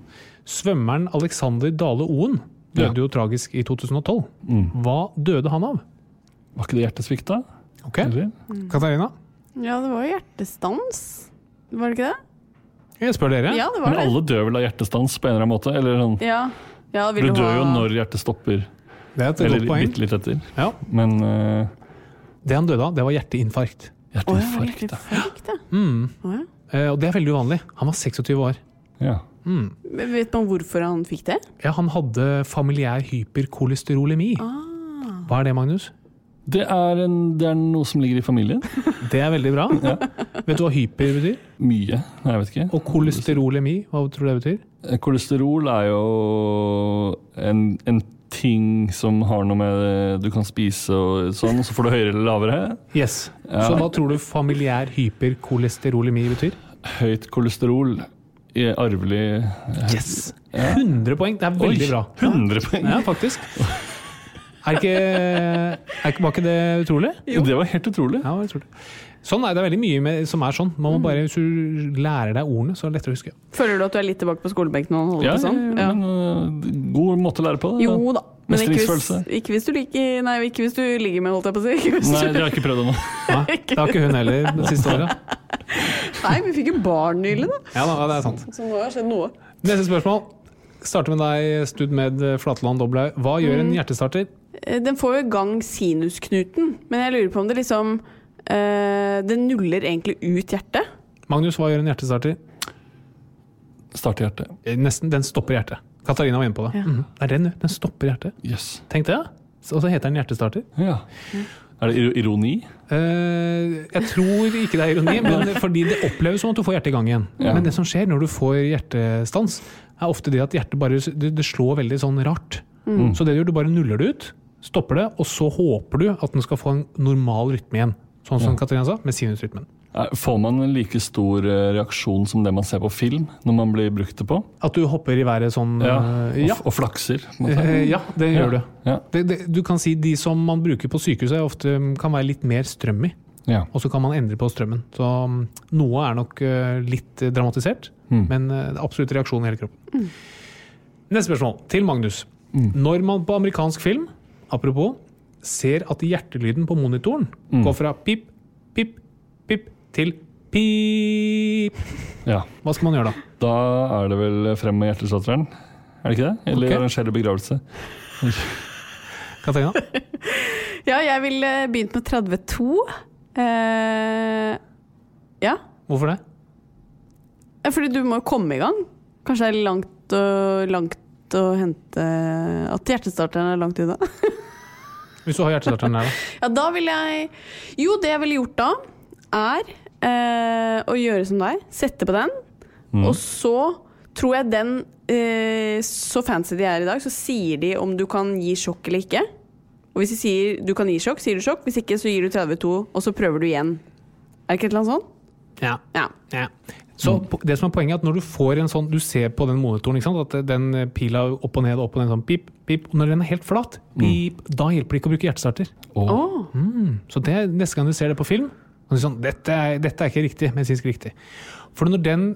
[SPEAKER 2] Svømmeren Alexander Dale Oen døde jo tragisk i 2012.
[SPEAKER 3] Mm.
[SPEAKER 2] Hva døde han av?
[SPEAKER 3] Var ikke det hjertesvikt, da?
[SPEAKER 2] Ok,
[SPEAKER 3] Eller?
[SPEAKER 2] Katarina?
[SPEAKER 1] Ja, det var jo hjertestans. Var det ikke det?
[SPEAKER 2] Jeg spør dere.
[SPEAKER 1] Ja, det var
[SPEAKER 3] Men
[SPEAKER 1] det.
[SPEAKER 3] alle dør vel av hjertestans på en eller annen måte? Eller sånn,
[SPEAKER 1] Ja. Ja, vil
[SPEAKER 3] du
[SPEAKER 1] du
[SPEAKER 3] dør
[SPEAKER 1] ha-
[SPEAKER 3] jo når hjertet stopper,
[SPEAKER 2] Det er et
[SPEAKER 3] eller
[SPEAKER 2] godt poeng.
[SPEAKER 3] bitte litt etter.
[SPEAKER 2] Ja,
[SPEAKER 3] Men øh,
[SPEAKER 2] det han døde av, det var hjerteinfarkt.
[SPEAKER 1] Å, ja, var det
[SPEAKER 3] hjerteinfarkt, da.
[SPEAKER 1] hjerteinfarkt, ja. Å, ja.
[SPEAKER 2] Eh, Og det er veldig uvanlig. Han var 26 år.
[SPEAKER 3] Ja.
[SPEAKER 1] Men Vet man hvorfor han fikk det?
[SPEAKER 2] Ja, han hadde familiær hyperkolesterolemi.
[SPEAKER 1] Ah.
[SPEAKER 3] Ah.
[SPEAKER 2] Hva er det, Magnus?
[SPEAKER 3] Det, er en, det er noe som ligger i familien.
[SPEAKER 2] Det er veldig bra. Vet du hva hyper betyr?
[SPEAKER 3] Mye. Nei, jeg vet ikke.
[SPEAKER 2] Og kolesterolemi, hva tror du det betyr?
[SPEAKER 3] Kolesterol er jo en, en ting som har noe med det du kan spise og sånn, og så får du høyere eller lavere.
[SPEAKER 2] Yes. Så hva tror du familiær hyperkolesterolemi betyr?
[SPEAKER 3] Høyt kolesterol i arvelig
[SPEAKER 2] Yes! 100 poeng! Det er veldig
[SPEAKER 3] Oi,
[SPEAKER 2] bra.
[SPEAKER 3] 100 poeng!
[SPEAKER 2] Ja, faktisk. Er ikke, er ikke, var ikke det utrolig?
[SPEAKER 3] Det var helt utrolig.
[SPEAKER 2] Ja, jeg tror det. Sånn er det veldig mye med, som er sånn. Man må bare, Hvis du lærer deg ordene, så er det lettere å huske.
[SPEAKER 1] Føler du at du er litt tilbake på skolebenken når han holder
[SPEAKER 3] Ja,
[SPEAKER 1] på sånn? Ja.
[SPEAKER 3] men øh, god måte å lære på det.
[SPEAKER 1] Jo da. Men ikke hvis,
[SPEAKER 3] Mestringsfølelse.
[SPEAKER 1] ikke, hvis du liker, nei, ikke hvis du ligger med, holdt jeg på å si. Ikke hvis
[SPEAKER 3] Nei,
[SPEAKER 1] du,
[SPEAKER 3] det har jeg ikke prøvd ennå.
[SPEAKER 2] Nei, det har ikke hun heller det siste året.
[SPEAKER 1] nei, vi fikk jo barn nylig, da.
[SPEAKER 2] Ja, da, det er sant.
[SPEAKER 1] Så må det ha skjedd noe.
[SPEAKER 2] Neste spørsmål. Starter med deg, Studmed Flatland Doblaug. Hva gjør en hjertestarter?
[SPEAKER 1] Eh, Den får jo i gang sinusknuten, men jeg lurer på om det liksom eh, Det nuller egentlig ut hjertet.
[SPEAKER 2] Magnus, hva gjør en hjertestarter?
[SPEAKER 3] Starte hjertet.
[SPEAKER 2] Eh, Nesten, den stopper hjertet. Katarina var inne på det. Mhm. Det er den, den stopper hjertet.
[SPEAKER 3] Yes.
[SPEAKER 2] Tenk det, ja. Og så heter den hjertestarter.
[SPEAKER 3] Ja. Er det ir- ironi?
[SPEAKER 2] Eh, Eh, jeg tror ikke det er ironi, men fordi det oppleves som at du får hjertet i gang igjen.
[SPEAKER 3] Ja.
[SPEAKER 2] Men det som skjer når du får hjertestans, er ofte det at hjertet bare det, det slår veldig sånn rart.
[SPEAKER 3] Mm.
[SPEAKER 2] Så det du gjør, du bare nuller det ut, stopper det, og så håper du at den skal få en normal rytme igjen. Sånn som Katarina sa, med sinusrytmen.
[SPEAKER 3] Er- Får man en like stor eh, reaksjon som det man ser på film når man blir brukt det på?
[SPEAKER 2] At du hopper i været sånn
[SPEAKER 3] Ja.
[SPEAKER 2] eh,
[SPEAKER 3] Og,
[SPEAKER 2] ja.
[SPEAKER 3] f- og flakser. på en måte.
[SPEAKER 2] Eh, ja, det
[SPEAKER 3] Ja.
[SPEAKER 2] gjør du.
[SPEAKER 3] Ja.
[SPEAKER 2] Det, det, du kan si De som man bruker på sykehuset, er ofte mm, kan være litt mer strøm i.
[SPEAKER 3] Ja.
[SPEAKER 2] Og så kan man endre på strømmen. Så mm, noe er nok eh, litt eh, dramatisert, men eh, det er absolutt reaksjon i hele kroppen. Neste spørsmål, til Magnus. Når man på amerikansk film, apropos, ser at hjertelyden på monitoren går fra pip, pip, pip til pip,
[SPEAKER 3] ja.
[SPEAKER 2] hva skal man gjøre da?
[SPEAKER 3] Da er det vel frem med hjerteslåtteren? Er det ikke det? Eller
[SPEAKER 2] Ok.
[SPEAKER 3] arrangere begravelse?
[SPEAKER 2] Katarina?
[SPEAKER 1] Ja, jeg ville begynt med 32. Eh, ja.
[SPEAKER 2] Hvorfor det?
[SPEAKER 1] Ja, Fordi du må jo komme i gang. Kanskje det er langt og langt å hente At hjertestarteren er langt unna.
[SPEAKER 2] Hvis du har hjertestarteren der, da.
[SPEAKER 1] Ja, da vil jeg Jo, det jeg ville gjort da, er eh, å gjøre som deg. Sette på den. Og så tror jeg den eh, Så fancy de er i dag, så sier de om du kan gi sjokk eller ikke. Og hvis de sier du kan gi sjokk, sier du sjokk. Hvis ikke, så gir du 32, og så prøver du igjen. Er det ikke et eller annet sånt?
[SPEAKER 2] Ja.
[SPEAKER 1] Ja.
[SPEAKER 2] Ja. Så po- det som er Poenget er at når du får en sånn Du ser på den monitoren ikke sant? at den eh, pila opp og ned opp og ned sånn pip, pip. Og når den er helt flat, pip, da hjelper det ikke å bruke hjertestarter.
[SPEAKER 1] Åh.
[SPEAKER 2] Så det, neste gang du ser det på film, kan du si sånn dette er, dette er ikke riktig. Medisinsk riktig. For når den